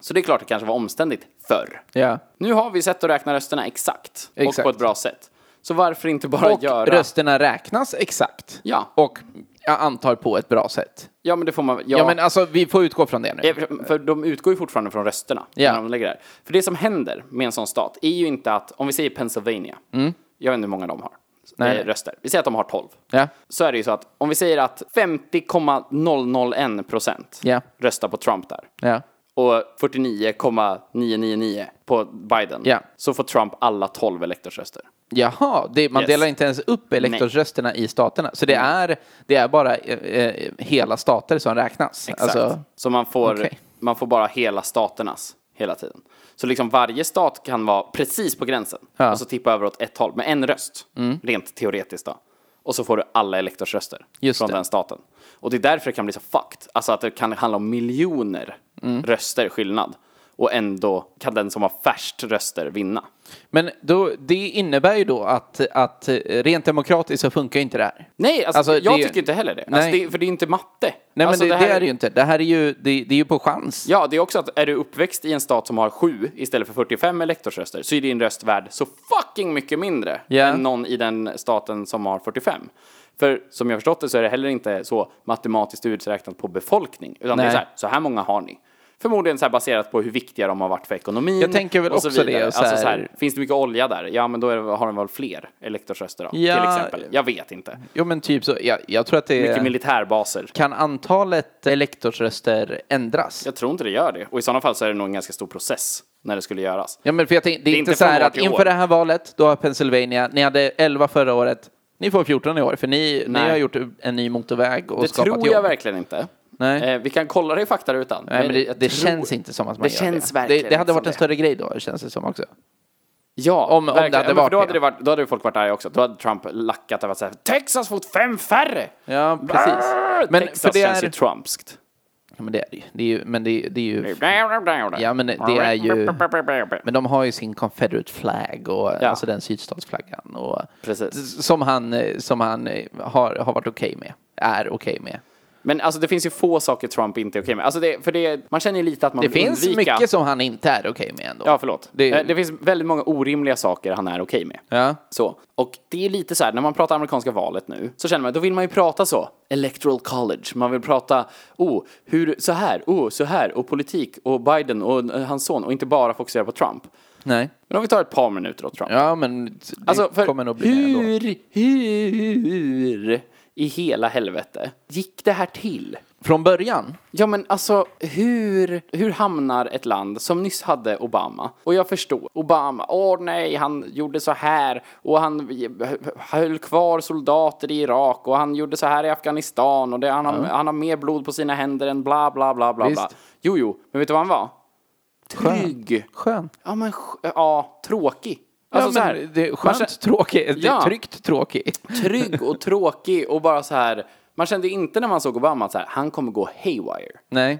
Så det är klart det kanske var omständigt förr. Mm. Ja. Nu har vi sett att räkna rösterna exakt, och Exakt. på ett bra sätt. Så varför inte bara Och göra... rösterna räknas exakt. Ja. Och jag antar på ett bra sätt. Ja, men det får man... Ja, Ja, men alltså vi får utgå från det nu. Eh, För de utgår ju fortfarande från rösterna. Ja. När de lägger det här. För det som händer med en sån stat är ju inte att, om vi säger Pennsylvania, jag vet inte hur många de har Mm. Nej. eh, röster. Vi säger att de har 12. Ja. Så är det ju så att om vi säger att 50,001 procent Ja. röstar på Trump där. Ja. Och 49,999 på Biden. Ja. Så får Trump alla 12 elektorsröster. Jaha, det, man Yes. delar inte ens upp elektorsrösterna i staterna. Så det är, det är bara eh, eh, hela stater som räknas. Exakt. Alltså, så man får, okej. man får bara hela staternas hela tiden. Så liksom varje stat kan vara precis på gränsen Ja. Mm. och så tippa över åt ett håll med en röst, rent teoretiskt då. Och så får du alla elektorsröster Just från det. den staten. Och det är därför det kan bli så fucked. Alltså att det kan handla om miljoner Mm. röster skillnad. Och ändå kan den som har färst röster vinna. men då, det innebär ju då att, att eh, rent demokratiskt så funkar ju inte det här. Nej, alltså, Alltså, jag det- tycker inte heller det. Alltså, Nej. det. För det är inte matte. Nej, alltså, men det, det, här- är det ju inte. Det här är ju, det, det är ju på chans. Ja, det är också att är du uppväxt i en stat som har sju istället för 45 elektorsröster så är din röst värd så fucking mycket mindre Ja. än någon i den staten som har 45. För som jag har förstått det så är det heller inte så matematiskt uträknat på befolkning. Utan det är Nej. så här, så här många har ni. Förmodligen så här baserat på hur viktiga de har varit för ekonomin. Jag tänker väl och så också vidare. det, och så Alltså så här, här- finns det mycket olja där? Ja, men då är det, har de väl fler elektorsröster då, Ja. till exempel. Jag vet inte. Jo, men typ så. Jag, jag tror att det Mycket är... militärbaser. Kan antalet elektorsröster ändras? Jag tror inte det gör det. Och i sådana fall så är det nog en ganska stor process när det skulle göras. Ja, men för jag tänkte, det är inte inte så här från år att till inför år. det här valet, då har Pennsylvania, ni hade 11 förra året, ni får 14 i år, för ni, ni Nej. har gjort en ny motorväg och Det skapat tror jobb. jag verkligen inte. Nej. Eh, vi kan kolla det i faktarutan. Nej, men det, jag det tror- känns inte som att man Det gör känns det. verkligen det. Det hade inte varit som en större grej då, känns det som också. Ja, om det verkligen. hade Ja, men varit för då det. hade, det varit, då hade folk varit arga också. Då hade Trump lackat över att säga Texas fått fem färre! Ja, precis. Brrr, Men Texas för det känns är- ju trumpskt. Ja, men det är det ju. Det är ju, men det, är- det är ju... Ja, men det är ju... Men de har ju sin Confederate flag och Ja. alltså den sydstatsflaggan och Precis. som han, eh, som han eh, har, har varit okej med, är okej med. Men alltså det finns ju få saker Trump inte är okej med. Alltså det, för det, man känner ju lite att man Det vill finns undvika. mycket som han inte är okej med ändå. Ja, förlåt. Eh, Det- Det... det finns väldigt många orimliga saker han är okej med. Ja. Så. Och det är lite så här, när man pratar amerikanska valet nu, så känner man, då vill man ju prata så. Electoral college, man vill prata, oh, hur, så här, oh, så här, och politik, och Biden, och eh, hans son, och inte bara fokusera på Trump. Nej. Men om vi tar ett par minuter åt Trump. Ja, men det Alltså, för kommer nog bli det ändå. hur, hur i hela helvete gick det här till? Från början? Ja men alltså hur, hur hamnar ett land som nyss hade Obama? Och jag förstår, Obama, åh nej, han gjorde så här och han höll kvar soldater i Irak och han gjorde så här i Afghanistan och det, han, har, han har mer blod på sina händer än bla bla bla bla bla. Visst. Jo jo, men vet du vad han var? Trygg. Skön. Ja men sk- ja, tråkig. Alltså, Alltså ja, så men här, det är man skönt kän- tråkigt. Det är Ja. tryggt tråkigt. trygg och tråkig och bara så här. Man kände inte när man såg Obama att så här, han kommer gå haywire. Nej.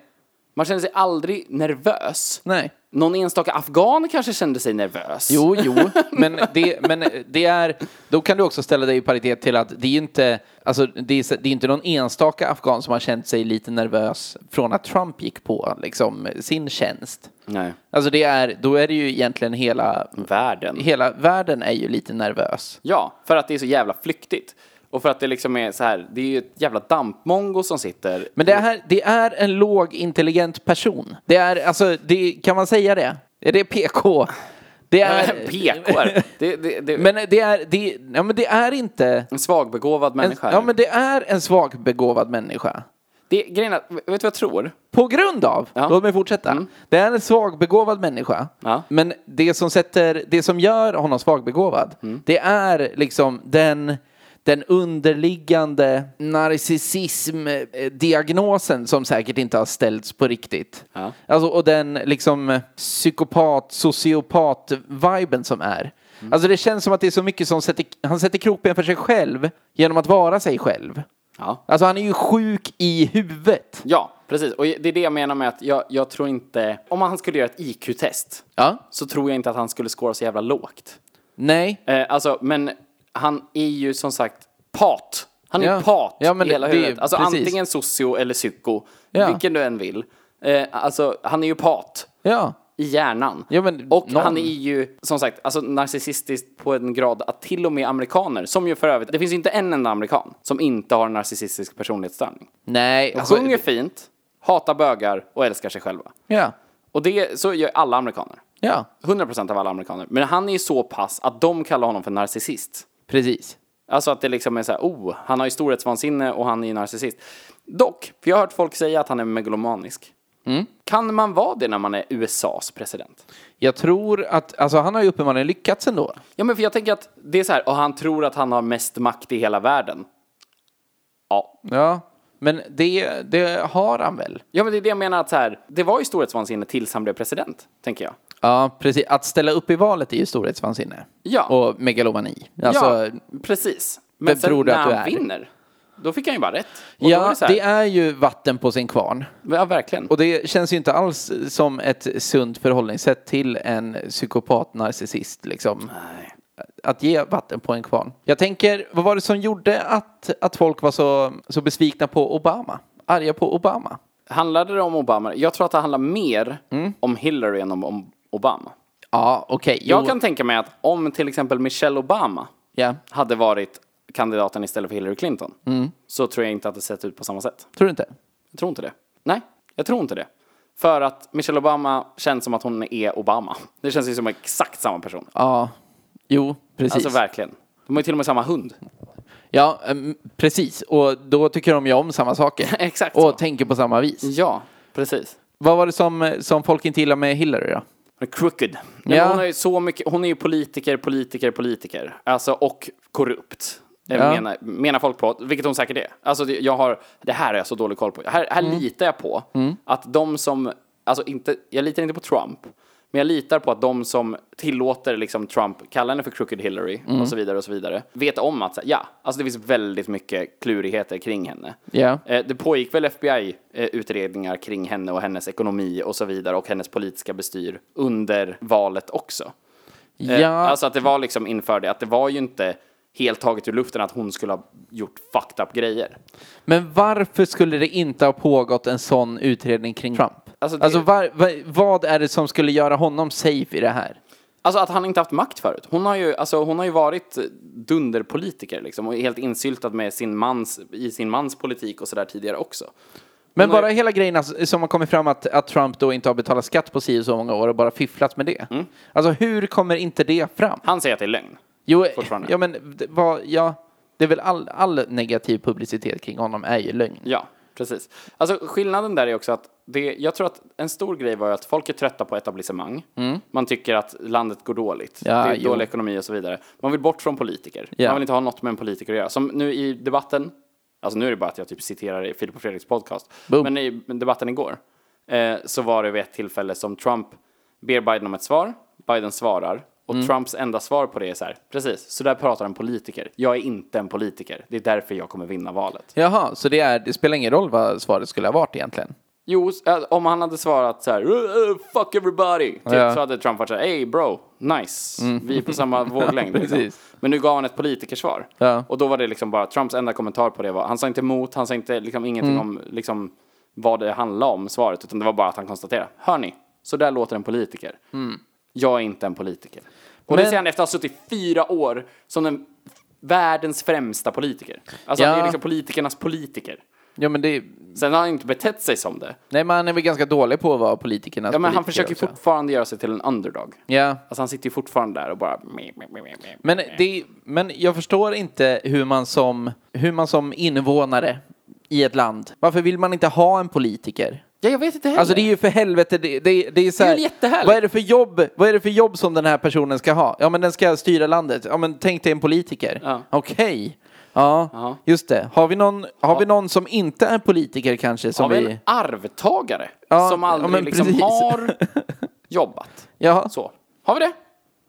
Man kände sig aldrig nervös. Nej. Någon enstaka afghan kanske kände sig nervös. Jo, jo, men det, men det är, då kan du också ställa dig i paritet till att det är inte, alltså det är, det är inte någon enstaka afghan som har känt sig lite nervös från att Trump gick på liksom sin tjänst. Nej. Alltså det är, då är det ju egentligen hela, Världen. hela världen är ju lite nervös. Ja, för att det är så jävla flyktigt. Och för att det liksom är så här, det är ju ett jävla dampmongo som sitter. Men det här, det är en låg intelligent person. Det är, alltså, det, kan man säga det? Är det PK? Det är... PKR. Det, det, det, Men det är, det, ja, men det är inte... en svagbegåvad En, människa. ja, men det är en svagbegåvad människa. det, grejen är, att- vet du vad jag tror? På grund av, Ja. Mm. låt mig fortsätta, det är en svagbegåvad människa. Ja. Men det som, sätter, det som gör honom svagbegåvad, Mm. det är liksom den, den underliggande narcissism-diagnosen som säkert inte har ställts på riktigt. Ja. Alltså, och den liksom psykopat, sociopat-viben som är. Mm. Alltså det känns som att det är så mycket som sätter, han sätter krokben för sig själv genom att vara sig själv. Ja. Alltså han är ju sjuk i huvudet. Ja, precis. Och det är det jag menar med att jag, jag tror inte... Om han skulle göra ett IQ-test Ja. så tror jag inte att han skulle skåra så jävla lågt. Nej. Eh, alltså, men han är ju som sagt pat. Han är Ja. pat Ja, men i hela det- det är- huvudet. Alltså precis. antingen socio eller psyko, Ja. vilken du än vill. Eh, alltså, han är ju pat Ja. i hjärnan. Ja, men och någon- han är ju, som sagt, alltså narcissistisk på en grad att till och med amerikaner, som ju för övrigt, det finns ju inte en enda amerikan som inte har narcissistisk personlighetsstörning. Nej. De alltså- sjunger fint, hatar bögar och älskar sig själva. Ja. Och det, så gör alla amerikaner. Ja. 100% av alla amerikaner. Men han är ju så pass att de kallar honom för narcissist. Precis. Alltså att det liksom är så här, oh, han har ju storhetsvansinne och han är ju narcissist. Dock, för jag har hört folk säga att han är megalomanisk. Mm. Kan man vara det när man är USAs president? Jag tror att, alltså han har ju uppenbarligen lyckats ändå. Ja, men för jag tänker att det är så här, och han tror att han har mest makt i hela världen. Ja. Ja. Men det, det har han väl? Ja, men det är det jag menar att så här, det var ju storhetsvansinne tills han blev president, tänker jag. Ja, precis. Att ställa upp i valet är ju storhetsvansinne. Ja. Och megalomani. Alltså, ja, precis. vem Men sen tror du när att du han är? vinner, då fick han ju bara rätt. Och då ja är det, så här, det är ju vatten på sin kvarn. Ja, verkligen. Och det känns ju inte alls som ett sunt förhållningssätt till en psykopat narcissist liksom. Att ge vatten på en kvarn. Jag tänker, vad var det som gjorde att, att folk var så, så besvikna på Obama? Arga på Obama? Handlade det om Obama? Jag tror att det handlar mer om Hillary än om, om Obama. Ja, okej. Jag jo, kan tänka mig att om till exempel Michelle Obama Ja. hade varit kandidaten istället för Hillary Clinton så tror jag inte att det sett ut på samma sätt. Tror du inte? Jag tror inte det. Nej, jag tror inte det. För att Michelle Obama känns som att hon är Obama. Det känns ju som exakt samma person. Ja. Jo, precis. Alltså verkligen. De har ju till och med samma hund. ja, em, precis. Och då tycker de ju om samma saker. Exakt Mm. Och så. tänker på samma vis. Ja, precis. Vad var det som, som folk inte gillade med Hillary då? Hon är crooked. Ja. Ja. Hon, är ju så mycket, hon är ju politiker, politiker, politiker. Alltså, och korrupt. Ja. Ja. Menar, menar folk på, vilket hon säkert är. Alltså, det, jag har, det här har jag så dålig koll på. Här, här litar jag på att de som, alltså inte, jag litar inte på Trump, men jag litar på att de som tillåter liksom Trump, kalla henne för crooked Hillary och så vidare och så vidare, vet om att så här, ja, alltså det finns väldigt mycket klurigheter kring henne. Ja. Eh, Det pågick väl FBI-utredningar eh, kring henne och hennes ekonomi och så vidare och hennes politiska bestyr under valet också. alltså Eh, Ja. Alltså att det var liksom inför det, att det var ju inte helt taget ur luften att hon skulle ha gjort fucked up grejer. Men varför skulle det inte ha pågått en sån utredning kring Trump? Alltså, Alltså, det- var, va- vad är det som skulle göra honom safe i det här? Alltså att han inte haft makt förut. Hon har ju, alltså, hon har ju varit dunderpolitiker liksom och är helt insyltad med sin mans, i sin mans politik och sådär tidigare också. Men Hon har bara hela grejen alltså, som har kommit fram att, att Trump då inte har betalat skatt på si och så många år och bara fifflat med det. Alltså hur kommer inte det fram? Mm. Han säger att det är lögn. Jo, fortfarande. ja men det, vad, ja, det är väl all, all negativ publicitet kring honom är ju lögn. Ja, precis. Alltså skillnaden där är också att det, jag tror att en stor grej var ju att folk är trötta på etablissemang. Man tycker att landet går dåligt. Mm. Ja, det är jo. dålig ekonomi och så vidare. Man vill bort från politiker. Ja. Man vill inte ha något med en politiker att göra. Som nu i debatten, alltså nu är det bara att jag typ citerar i Filip och Fredriks podcast. Boom. Men i debatten igår eh, så var det vid ett tillfälle som Trump ber Biden om ett svar. Biden svarar. Och Mm. Trumps enda svar på det är så här, precis, så där pratar en politiker. Jag är inte en politiker. Det är därför jag kommer vinna valet. Jaha, så det, är, det spelar ingen roll vad svaret skulle ha varit egentligen? Jo, s- äh, om han hade svarat så här "Uh, uh, fuck everybody, typ, Ja. Mm. så hade Trump varit så här, hey bro, nice, vi är på samma våglängd. liksom. precis. Men nu gav han ett politikersvar. Ja. Och då var det liksom bara, Trumps enda kommentar på det var, han sa inte emot, han sa inte liksom ingenting Mm. om liksom, vad det handlade om, svaret, utan det var bara att han konstaterade, hör ni, så där låter en politiker. Jag är inte en politiker. Och det Mm. Men- säger han efter att ha suttit fyra år som den världens främsta politiker. Alltså han är Ja. ju liksom politikernas politiker. Ja men det, Sen har han inte betett sig som det. nej men han är väl ganska dålig på att vara politikernas Ja, men han politiker försöker ju också. fortfarande göra sig till en underdog. Ja. Alltså han sitter ju fortfarande där och bara... meh, meh, meh, meh, meh. Men, det, men jag förstår inte hur man, som, hur man som invånare i ett land, varför vill man inte ha en politiker? Ja, jag vet inte heller. Alltså det är ju för helvete, det, det, det är så här, väl jättehärligt. vad är det för jobb, vad är det för jobb som den här personen ska ha? Ja men den ska styra landet, ja men tänk dig en politiker. Ja. Okej. Ja, just det. Har vi, någon, har vi någon som inte är politiker kanske? Som Har vi vi... en arvtagare Ja, som aldrig ja, men liksom precis. har jobbat. Ja, Så. Har vi det?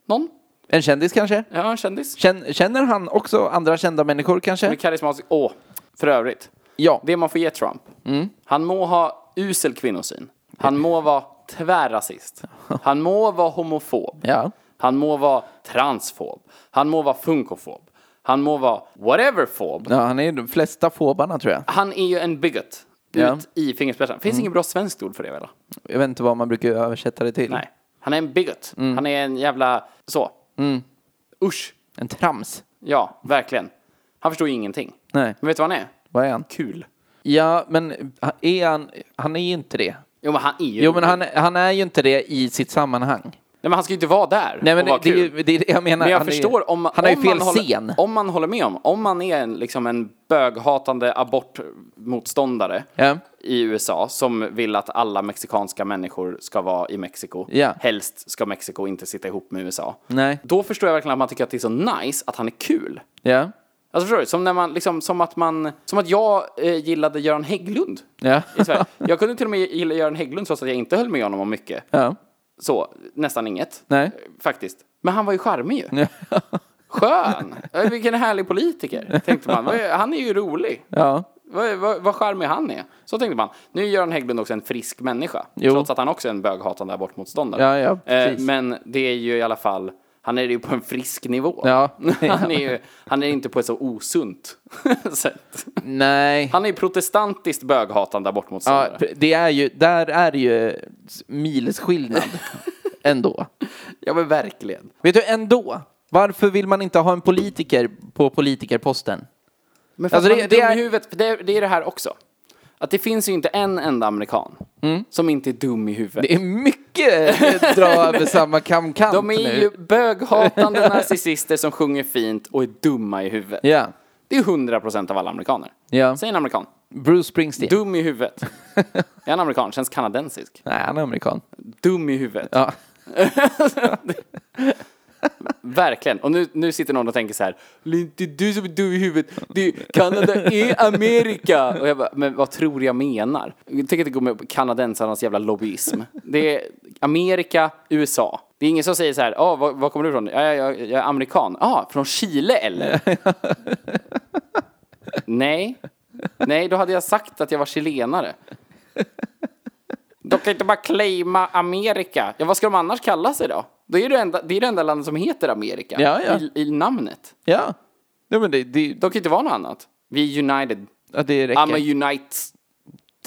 Någon? en kändis kanske? Ja, en kändis? Känn- Känner han också andra kända människor kanske? En karismatisk... Åh, för övrigt. Ja. Det man får ge Trump. Mm. Han må ha usel kvinnosyn. Han må vara tvärrasist. Han må vara homofob. Ja. Han må vara transfob. Han må vara funkofob. Han må vara whateverfob. ja, han är ju de flesta fåbarna tror jag. Han är ju en bigot. Ut Ja. Mm. i fingerspetsarna. Finns inget bra svenskt ord för det väl? Jag vet inte vad man brukar översätta det till. Nej. Han är en bigot. Mm. Han är en jävla... Så. Usch. En trams. Ja, verkligen. Han förstår ju ingenting. Nej. Men vet du vad han är? Vad är han? Kul. Ja, men är han, han är ju inte det. Jo, men han är ju... Jo, men han, han är ju inte det i sitt sammanhang. Nej, men han ska ju inte vara där Nej, men och vara det, det, är kul. ju- det är det jag menar. Men jag han är ju- förstår om, Han har ju om fel man håller, scen. Om man håller med om, om man är en, liksom en böghatande abortmotståndare Ja. i USA som vill att alla mexikanska människor ska vara i Mexiko. Ja. Helst ska Mexiko inte sitta ihop med USA. Nej. Då förstår jag verkligen att man tycker att det är så nice att han är kul. Ja. Alltså förstår du? Som, när man, liksom, som, att, man, som att jag eh, gillade Göran Hägglund. Ja. I Sverige. Jag kunde till och med gilla Göran Hägglund trots att jag inte höll med honom om mycket. Ja. Så, nästan inget. Nej. Eh, Faktiskt. Men han var ju charmig ju. Skön! Eh, Vilken härlig politiker, tänkte man. Vad är- Han är ju rolig. Ja. Vad, vad, vad charmig han är. Så tänkte man. Nu är Göran Hägglund också en frisk människa. Jo. Trots att han också är en böghatande abortmotståndare. Eh, Ja, ja, precis. men det är ju i alla fall, han är ju på en frisk nivå. Ja. han, är ju, han är inte på ett så osunt sätt. Nej. Han är ju protestantiskt böghatande abortmotståndare. Ja, det är ju, där är det ju milsskillnad. ändå. ja men verkligen. Vet du, ändå. Varför vill man inte ha en politiker på politikerposten? Men för Alltså, att det- man är det dum är- i huvudet, för det, det är det här också. Att det finns ju inte en enda amerikan Mm. som inte är dum i huvudet. Det är mycket dra över samma kamkant De är nu. ju böghatande narcissister som sjunger fint och är dumma i huvudet. Ja. Det är 100% av alla amerikaner. Ja. Säg en amerikan. Bruce Springsteen. Dum i huvudet. Är han amerikan? Känns kanadensisk. Nej, han är amerikan. Dum i huvudet. Ja. Verkligen. Och nu, nu sitter någon och tänker så här. "Lin, Det är du som är dum i huvudet. Det är, Kanada är Amerika. Och jag bara, men vad tror jag menar? Jag tänker inte gå med på kanadensarnas jävla lobbyism. Det är Amerika, USA. Det är ingen som säger så här. "Ah, var, var kommer du ifrån? "Ja, Jag, jag, jag är amerikan. ah, från Chile eller? Nej. Nej, då hade jag sagt att jag var chilenare. De kan inte bara claima Amerika. Ja, vad ska de annars kalla sig då? Det är ju det enda, det är det enda landet som heter Amerika Ja, ja. I, i namnet. ja. Nej, men det, det, De kan ju inte vara något annat. Vi är united. ja, det räcker. I'm a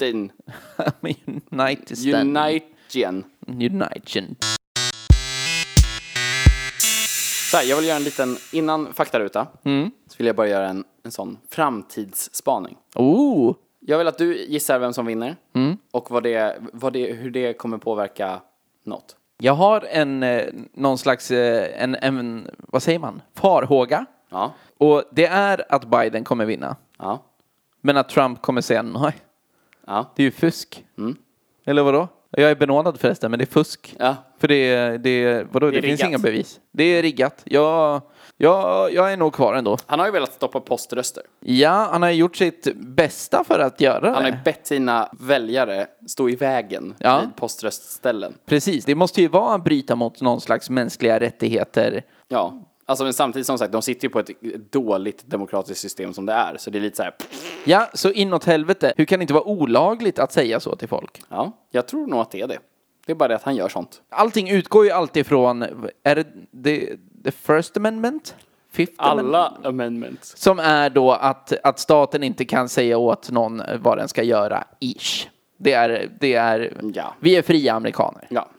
uniten. I'm a United stand. Unitian. United. Så här, jag vill göra en liten, innan faktaruta, Mm. så vill jag bara göra en, en sån framtidsspaning. Oh! Jag vill att du gissar vem som vinner Mm. och vad det, vad det, hur det kommer påverka något. Jag har en, eh, någon slags, eh, en, en, vad säger man, farhåga. Ja. Och det är att Biden kommer vinna. Ja. Men att Trump kommer säga nej. Ja. Det är ju fusk. Mm. Eller vadå? Jag är benådad förresten, men det är fusk. Ja. För det, det, vadå? det, är finns riggat. inga bevis. Det är riggat. Jag, jag, jag är nog kvar ändå. Han har ju velat stoppa poströster. Ja, han har gjort sitt bästa för att göra Han har ju det. bett sina väljare stå i vägen Ja. vid poströstställen. Precis, det måste ju vara att bryta mot någon slags mänskliga rättigheter. Ja. Alltså, men samtidigt som sagt, de sitter ju på ett dåligt demokratiskt system som det är. Så det är lite så här, Ja, så inåt helvete. Hur kan det inte vara olagligt att säga så till folk? ja, jag tror nog att det är det. Det är bara det att han gör sånt. Allting utgår ju alltid från, är det the, the first amendment? Fifth amendment? Alla amendments. Som är då att, att staten inte kan säga åt någon vad den ska göra, ish. Det är, det är, Ja. vi är fria amerikaner. Ja.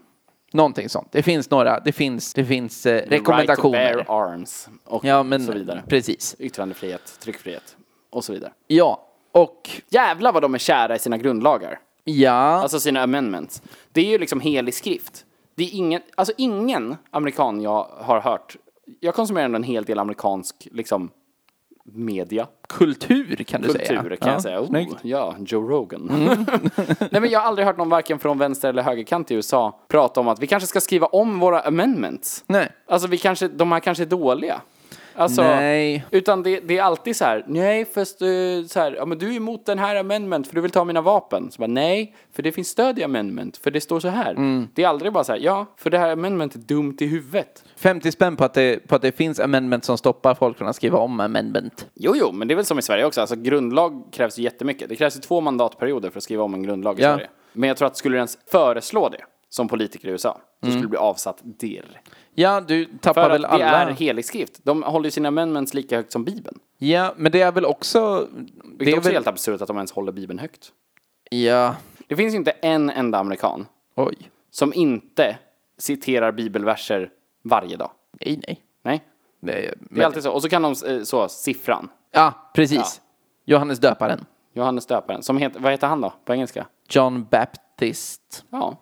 Någonting sånt. Det finns några, det finns, det finns eh, rekommendationer. Right to bear arms och ja, men så vidare. precis. Yttrandefrihet, tryckfrihet och så vidare. Ja, och Jävlar vad de är kära i sina grundlagar. ja, Alltså sina amendments. Det är ju liksom helig skrift. Det är ingen, alltså ingen amerikan jag har hört. Jag konsumerar ändå en hel del amerikansk liksom media. kultur kan du säga. Kultur kan Ja, jag säga. Oh, snyggt. Mm. ja, Joe Rogan. Nej men jag har aldrig hört någon varken från vänster eller högerkant i USA prata om att vi kanske ska skriva om våra amendments. Nej. Alltså vi kanske, de här kanske är dåliga. Alltså, Nej. Utan det, det är alltid så här, nej fast eh, så här, ja men du är emot den här amendment för du vill ta mina vapen. Så bara, nej, för det finns stöd i amendment, för det står så här. Mm. Det är aldrig bara så här, ja, för det här amendment är dumt i huvudet. 50 spänn på att, det, på att det finns amendment som stoppar folk från att skriva om amendment. Jo, jo, men det är väl som i Sverige också, alltså grundlag krävs ju jättemycket. Det krävs ju två mandatperioder för att skriva om en grundlag i Ja. Sverige. Men jag tror att skulle du ens föreslå det som politiker i USA, så skulle du bli avsatt direkt. Ja, du tappar För Mm. väl att det alla. är helig skrift. De håller ju sina amendments lika högt som Bibeln. Ja, men det är väl också... Det är också väl... helt absurt att de ens håller Bibeln högt. Ja, Det finns ju inte en enda amerikan oj. som inte citerar bibelverser varje dag. Nej, nej. Nej, Det är, det är alltid så. Och så kan de eh, så, siffran. Ja, precis. Johannes döparen. Johannes döparen, som heter, vad heter han då på engelska? John Baptist Ja,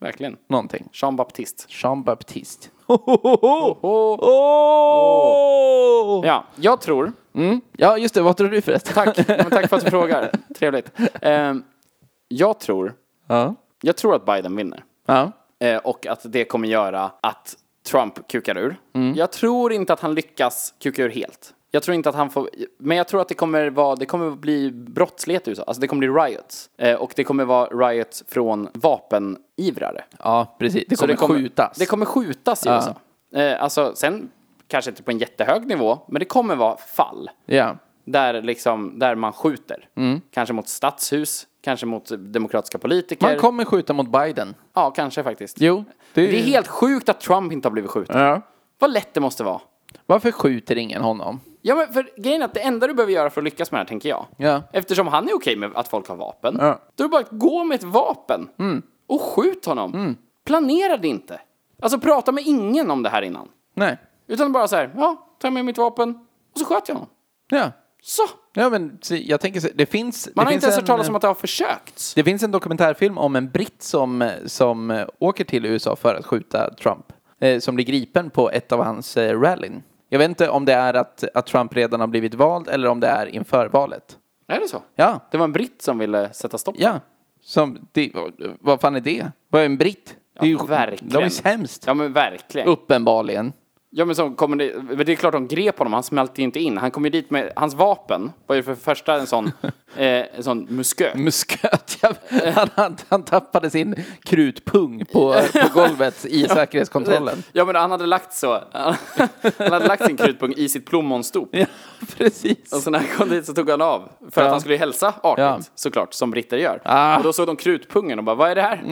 verkligen. någonting. Jean Baptiste. Jean Baptist. Ja, jag tror, Ja, just det. Vad tror du förresten? tack, men tack för att du frågar, trevligt. Eh, jag tror, Ja. jag tror att Biden vinner. ja. Eh, och att det kommer göra att Trump kukar ur. Mm. Jag tror inte att han lyckas kuka ur helt. Jag tror inte att han får, men jag tror att det kommer vara, det kommer bli brottslighet i USA. Alltså det kommer bli riots. Eh, och det kommer vara riots från vapenivrare. Ja, precis. Det Så kommer, skjutas. Det kommer skjutas i USA. Eh, alltså sen, kanske inte på en jättehög nivå, men det kommer vara fall. Ja. Där, liksom, där man skjuter. Mm. Kanske mot stadshus, kanske mot demokratiska politiker. Man kommer skjuta mot Biden. Ja, kanske faktiskt. Jo. Det är helt sjukt att Trump inte har blivit skjuten. Ja. Vad lätt det måste vara. Varför skjuter ingen honom? Ja, men för grejen är att det enda du behöver göra för att lyckas med det här, tänker jag. Ja. Eftersom han är okej med att folk har vapen. Ja. Mm. Då är det bara att gå med ett vapen. Och skjut honom. Planera det inte. Alltså prata med ingen om det här innan. Nej. Utan bara så här, ja, ta med mitt vapen. Och så sköt jag honom. Ja. Så! Ja, men se, jag tänker så. Det finns... Man det har finns inte ens hört en- eh, talas om att det har försökts. Det finns en dokumentärfilm om en britt som, som eh, åker till USA för att skjuta Trump. Eh, som blir gripen på ett av hans eh, rallyn. Jag vet inte om det är att, att Trump redan har blivit vald eller om det är inför valet. Är det så? Ja, Det var en britt som ville sätta stopp. ja. Som, det, vad- vad fan är det? Vad är en britt? Det är ju- verkligen. De är ju sämst. Ja, men verkligen. Uppenbarligen. Ja men, så kommer det, men det är klart de grep honom, han smälte ju inte in. Han kom ju dit med, hans vapen var ju för det första en sån, eh, en sån muskö. Musköt, jag, Eh. han, han, han tappade sin krutpung på, på golvet i säkerhetskontrollen. Ja men han hade lagt så, han hade lagt sin krutpung i sitt plommonstop. Ja, precis. Och så när han kom dit så tog han av, för att han skulle ju hälsa artigt Ja. såklart, som britter gör. Ah. Och då såg de krutpungen och bara, vad är det här?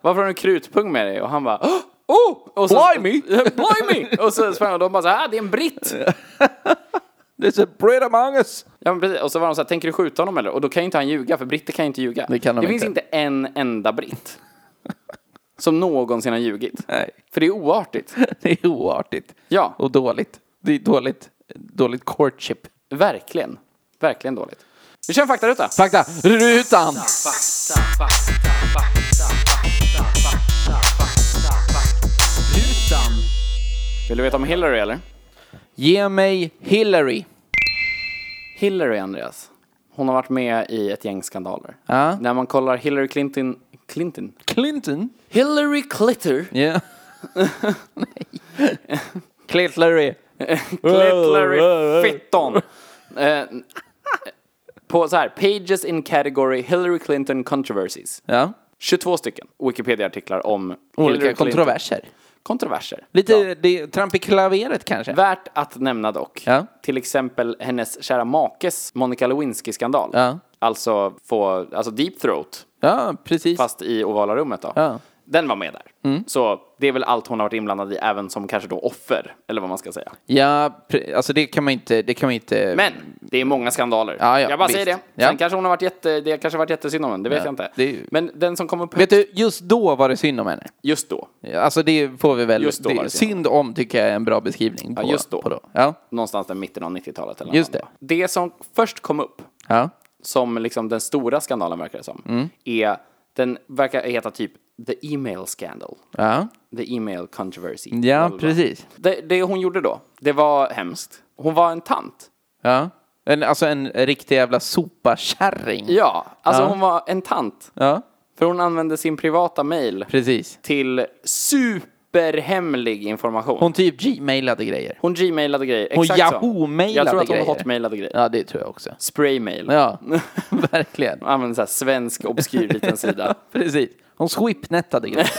Varför har du en krutpung med dig? Och han bara, oh! Och så, Blimey! Blimey! Och så sprang de och de bara så här, ah, det är en britt! There's a Brit among us! Ja, men precis. Och så var de så här, tänker du skjuta honom eller? Och då kan ju inte han ljuga, för britter kan ju inte ljuga. Det kan de det finns inte. inte en enda britt som någonsin har ljugit. Nej, För det är oartigt. det är oartigt. Ja. Och dåligt. Det är dåligt. Dåligt courtship. Verkligen. Verkligen dåligt. Vi kör en faktaruta. Fakta! Rutan! Vill du veta om Hillary eller? Ge mig Hillary. Hillary, Andreas. Hon har varit med i ett gäng skandaler. Ja. När man kollar Hillary Clinton... Clinton? Clinton? Hillary Clitter. Ja. Yeah. Clitlary. Clitlary Wow, wow, wow. Fitton. Eh, På så här, Pages in Category Hillary Clinton Controversies. Ja. 22 stycken Wikipedia-artiklar om Hillary Olika Clinton. kontroverser. kontroverser. Lite Ja. det, tramp i klaveret kanske. Värt att nämna dock. Ja. Till exempel hennes kära makes Monica Lewinsky-skandal. Ja. Alltså, få, alltså deep throat, ja, precis. fast i ovala rummet då. Ja. Mm. Den var med där. Så det är väl allt hon har varit inblandad i, även som kanske då offer, eller vad man ska säga. Ja, pre- alltså det kan man inte... Det kan man inte... Men det är många skandaler. Ja, ja, jag bara visst. säger det. Sen Ja. kanske hon har varit jätte, det kanske har varit jättesynd om henne, det vet Ja, jag inte. det är ju- Men den som kommer upp Vet du, just då var det synd om henne. just då, Alltså det får vi väl... Just då var det, det synd. synd om tycker jag är en bra beskrivning. På, Ja, just då. På då. Ja. någonstans där mitten av 90-talet eller Just något annat. Det som först kom upp, ja. som liksom den stora skandalen verkar det som, Mm. är, den verkar heta typ the email scandal. Ja, The email controversy. ja Blablabla. precis. Det, det hon gjorde då, det var hemskt. Hon var en tant. Ja. En, alltså en riktig jävla sopakärring. Ja, alltså Ja. hon var en tant. ja. För hon använde sin privata mail Precis. till superhemlig information. Hon Hon, typ gmailade grejer. gmailade grejer. Hon Exakt så. Yahoo-mailade Jag tror att hon grejer. hotmailade grejer. Ja, det tror jag också. Spraymail. Ja, verkligen. Hon använde så här svensk obskyr liten sida. Precis. Hon swipnettade grejer.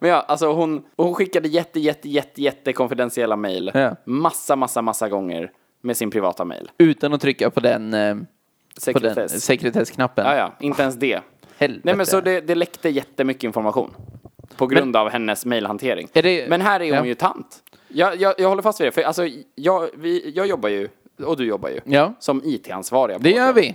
Men ja, alltså hon, hon skickade jätte, jätte, jätte, jätte konfidentiella mail. Ja. Massa, massa, massa gånger med sin privata mail. Utan att trycka på den, eh, på den Sekretess. sekretessknappen. Ja, ja, inte ens det. Helvete. Nej, men så det, det läckte jättemycket information. På grund av hennes mejlhantering. Är det- Men här är hon Ja. ju tant. Jag, jag, jag håller fast vid det, för alltså, jag, vi, jag jobbar ju, och du jobbar ju, Ja. som IT-ansvariga. på Det vårt gör jobb.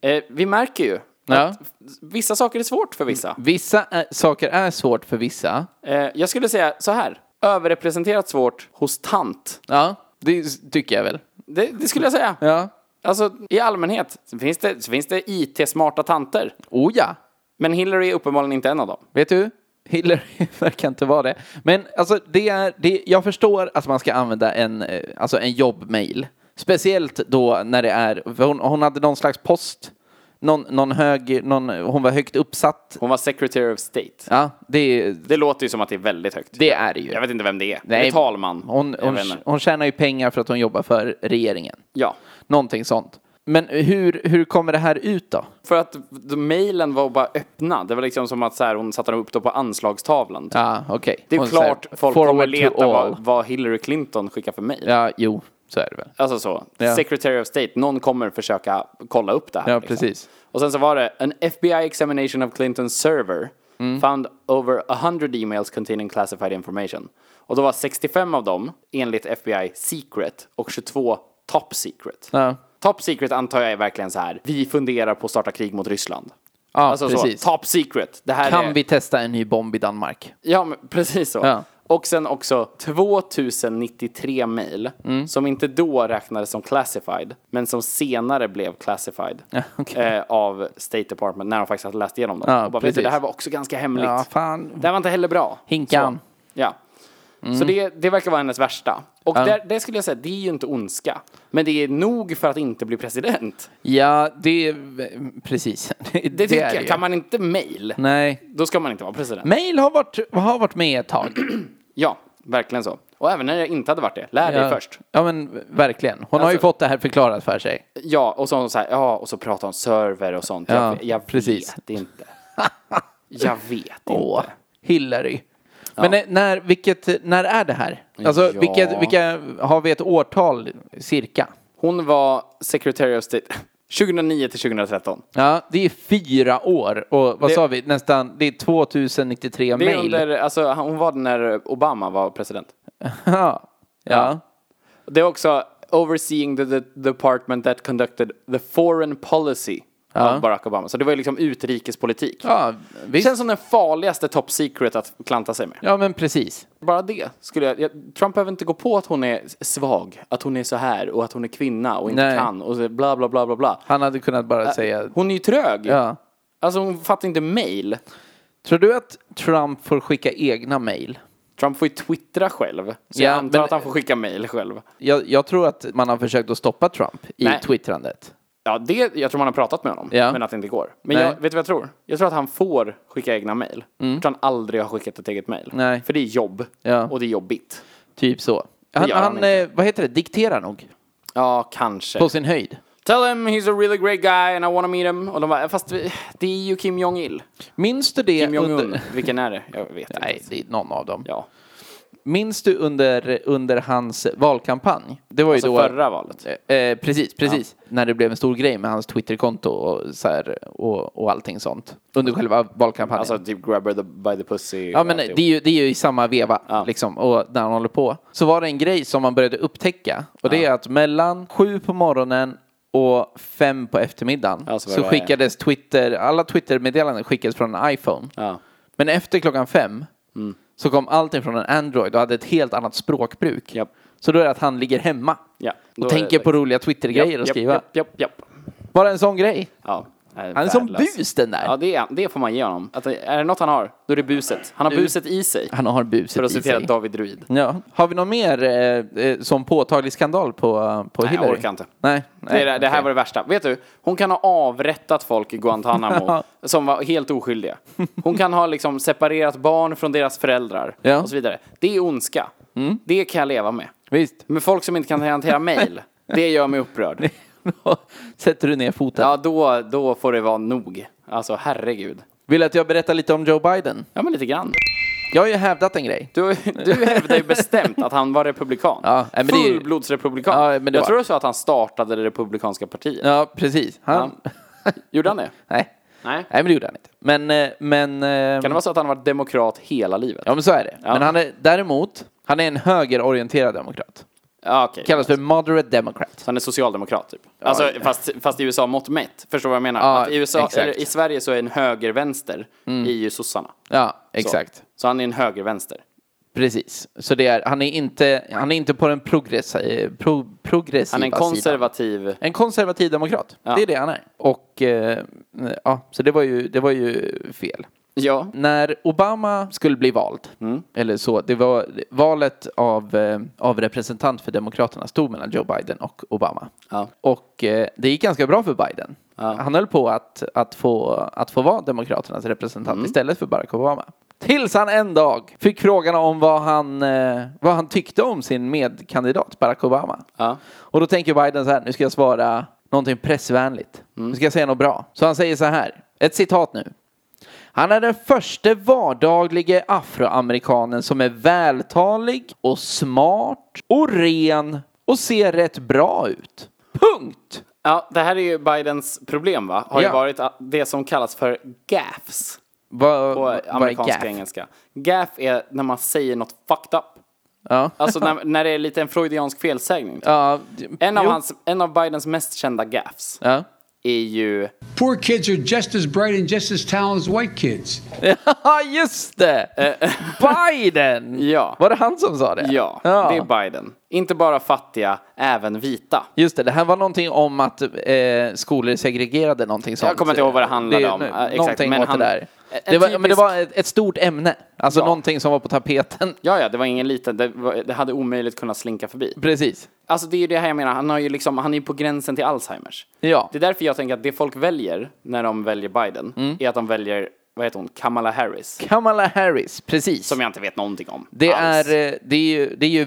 vi. Eh, vi märker ju Ja. att vissa saker är svårt för vissa. Vissa ä- saker är svårt för vissa. Eh, jag skulle säga så här, överrepresenterat svårt hos tant. Ja, det s- tycker jag väl. Det, det skulle jag säga. Ja. Alltså, i allmänhet så finns det, så finns det IT-smarta tanter. Oh ja. Men Hillary är uppenbarligen inte en av dem. Vet du? Hillary verkar inte vara det. Men alltså, det är, det, jag förstår att man ska använda en, eh, alltså en jobbmail. Speciellt då när det är, för hon, hon hade någon slags post. Någon, någon hög, någon, hon var högt uppsatt. Hon var secretary of state. Ja, det, Det låter ju som att det är väldigt högt. det är det ju. Jag vet inte vem det är. Nej, Eller talman. Hon, Jag hon, vet inte. hon tjänar ju pengar för att hon jobbar för regeringen. Ja. Någonting sånt. Men hur, hur kommer det här ut då? För att d- mailen var bara öppna. Det var liksom som att så här, hon satte upp då på anslagstavlan. typ. Ja, okej. det är Hon klart säger, folk "Forward kommer to leta all." vad, vad Hillary Clinton skickar för mail. Ja, jo, så är det väl. Alltså så. Ja. Secretary of State. Någon kommer försöka kolla upp det här. liksom. Ja, precis. Och sen så var det en FBI examination of Clintons server Mm. found over 100 emails containing classified information. Och då var 65 av dem enligt FBI secret och 22 top secret. Ja. Top secret antar jag är verkligen så här, vi funderar på att starta krig mot Ryssland. Ja, alltså precis. så, top secret. Det här Kan är... vi testa en ny bomb i Danmark? Ja, men precis så. Ja. Och sen också 2093 mejl Mm. som inte då räknades som classified, men som senare blev classified okej. eh, av State Department när de faktiskt hade läst igenom dem. Ja, och bara, vet du, precis. det här var också ganska hemligt. Ja, fan. Det här var inte heller bra. Hinkan. Mm. Så, ja. Så det, det verkar vara hennes värsta. Och där, det skulle jag säga, det är ju inte ondska. Men det är nog för att inte bli president. Ja, det... Precis. Det, Det tycker är jag. ju. Kan man inte mejl, Nej. då ska man inte vara president. Mail har varit, har varit med ett tag. Ja, verkligen så. Och även när jag inte hade varit det, lär dig ja. först. Ja, men verkligen. Hon har ju Alltså- fått det här förklarat för sig. Ja, och så, så här, ja, och så pratar om server och sånt. Ja, jag, jag precis. vet inte. Jag vet inte. Åh, Hillary. Men eh, när, vilket, när är det här? Alltså, Ja. vilket, vilka, har vi ett årtal cirka? Hon var Secretary of State 2009 till 2013. Ja, det är fyra år och vad Det- sa vi, nästan, det är 2093 Det är mail. under, alltså, hon var det när Obama var president. ja. Ja. Det är också overseeing the, the department that conducted the foreign policy av Barack Obama. Så det var ju liksom utrikespolitik. Ja, Det visst. känns som den farligaste top secret att klanta sig med. Ja, men precis. Bara det skulle jag, jag... Trump behöver inte gå på att hon är svag, att hon är så här och att hon är kvinna och inte Nej. kan och så bla bla bla bla bla. Han hade kunnat bara säga... Hon är ju trög. Ja. Alltså hon fattar inte mail. Tror du att Trump får skicka egna mejl? Trump får ju twittra själv. Så Ja, jag antar men- att han får skicka mail själv. Jag, jag tror att man har försökt att stoppa Trump i Nej. twittrandet. Ja, det, jag tror man har pratat med honom, Ja. men att det inte går. Men Nej. Mm. jag, vet du vad jag tror? Jag tror att han får skicka egna mejl. Jag tror han aldrig har skickat ett eget mejl. Nej. För det är jobb, Ja. och det är jobbigt. Typ så. Han, gör han han, eh, vad heter det, dikterar nog. Ja, kanske. På sin höjd. Tell him he's a really great guy and I wanna meet him. Och de bara, fast vi- det är ju Kim Jong-Il. Minns du det Kim Jong-Un, under... vilken är det? Jag vet Nej, inte. det är någon av dem. Ja. Minns du under, under hans valkampanj? Det var ju Så då... Alltså förra valet. Eh, eh, precis, precis. När det blev en stor grej med hans Twitterkonto och, så här, och, och allting sånt. Under själva valkampanjen. Alltså typ grabber the, by the pussy. Ja men alltihop. det är ju, det är ju i samma veva Ja. liksom, och när han håller på. Så var det en grej som man började upptäcka och det är att mellan sju på morgonen och fem på eftermiddagen Ja, så så, var det- skickades Twitter, alla Twitter-meddelanden skickades från en iPhone. Ja. Mm. Men efter klockan fem så kom allting från en Android och hade ett helt annat språkbruk. Japp. Så då är det att han ligger hemma Ja, då är och tänker det liksom- på dags. roliga Twitter-grejer Japp, och japp, skriva. Japp, japp, japp. Bara en sån grej. Ja. Han Han är som bus den där. Ja, det, är, det får man ge honom. Att, är det något han har, då är det buset. Han har buset i sig. Han har buset För att i citera sig. David Druid. Ja. Har vi någon mer eh, eh, som påtaglig skandal på, på Nej, jag Hillary? orkar inte. Nej, Det, nej, är det- det här okej. var det värsta. Vet du, hon kan ha avrättat folk i Guantanamo som var helt oskyldiga. Hon kan ha liksom separerat barn från deras föräldrar Ja. Mm. och så vidare. Det är ondska. Det kan jag leva med. Visst. Men folk som inte kan hantera mejl, det gör mig upprörd. Då Sätter du ner foten? Ja, då, då får det vara nog. Alltså, herregud. Vill du att jag berättar lite om Joe Biden? Ja, men lite grann. Jag har ju hävdat en grej. Du, du hävdar ju bestämt att han var republikan. Ja, nej, men det är ju- Fullblodsrepublikan. Ja, men det jag var- tror det så att han startade det republikanska partiet. Ja, precis. Han... Gjorde han det? nej. Nej. nej, men det gjorde han inte. Men... eh, men eh, Kan det vara så att han har varit demokrat hela livet? Ja, men så är det. Men han är däremot, han är en högerorienterad demokrat. Ja, okej. Kallas för moderate democrat. Så han är socialdemokrat typ. Alltså, fast, fast i USA mått mätt. Förstår du vad jag menar? Ja, att i, USA, exakt. eller, I Sverige så är en höger-vänster i ju sossarna. Så. Ja, exakt. Så han är en höger-vänster. Precis. Så det är, han är inte, han är inte på den progress, eh, pro, progressiva Han är en sidan. konservativ... En konservativ demokrat. Det är det han är. Och eh, ja, så det var ju, det var ju fel. Ja. När Obama skulle bli vald, eller så, det var valet av, eh, av representant för Demokraterna stod mellan Joe Biden och Obama. Ja. Och eh, det gick ganska bra för Biden. Han höll på att, att, få, att få vara Demokraternas representant istället för Barack Obama. Tills han en dag fick frågan om vad han, eh, vad han tyckte om sin medkandidat Barack Obama. Ja. Och då tänker Biden så här, nu ska jag svara någonting pressvänligt. Nu ska jag säga något bra. Så han säger så här, ett citat nu. Han är den första vardaglige afroamerikanen som är vältalig och smart och ren och ser rätt bra ut. Punkt! ja, det här är ju Bidens problem va? Har ju Ja. varit att- det som kallas för gaffs. Vad på vad är amerikanska gaff? engelska. Gaff är när man säger något fucked up. Ja. Alltså när, när det är lite en freudiansk felsägning. typ. Ja, d- En, av jo. hans, en av Bidens mest kända gaffs Ja. är ju... Poor kids are just as bright and just as talented as white kids. Ja, just det! Biden! Eh, Ja. Var det han som sa det? Ja, det är Biden. Inte bara fattiga, även vita. Just det, det här var någonting om att eh, skolor segregerade någonting sånt. Jag kommer inte ihåg vad det handlade om. nu- Ja, exakt, Någonting men åt han- det där. en Det var, Men det typisk- var ett, ett stort ämne. Alltså Ja. någonting som var på tapeten. Ja, ja, det var ingen liten, det, var, det hade omöjligt kunnat slinka förbi. Precis. Alltså det är ju det här jag menar, han, har ju liksom, han är ju på gränsen till Alzheimers. Ja. Det är därför jag tänker att det folk väljer när de väljer Biden Mm. är att de väljer, vad heter hon, Kamala Harris. Kamala Harris, precis. Som jag inte vet någonting om. det, alls. är, eh, det, är ju, det är ju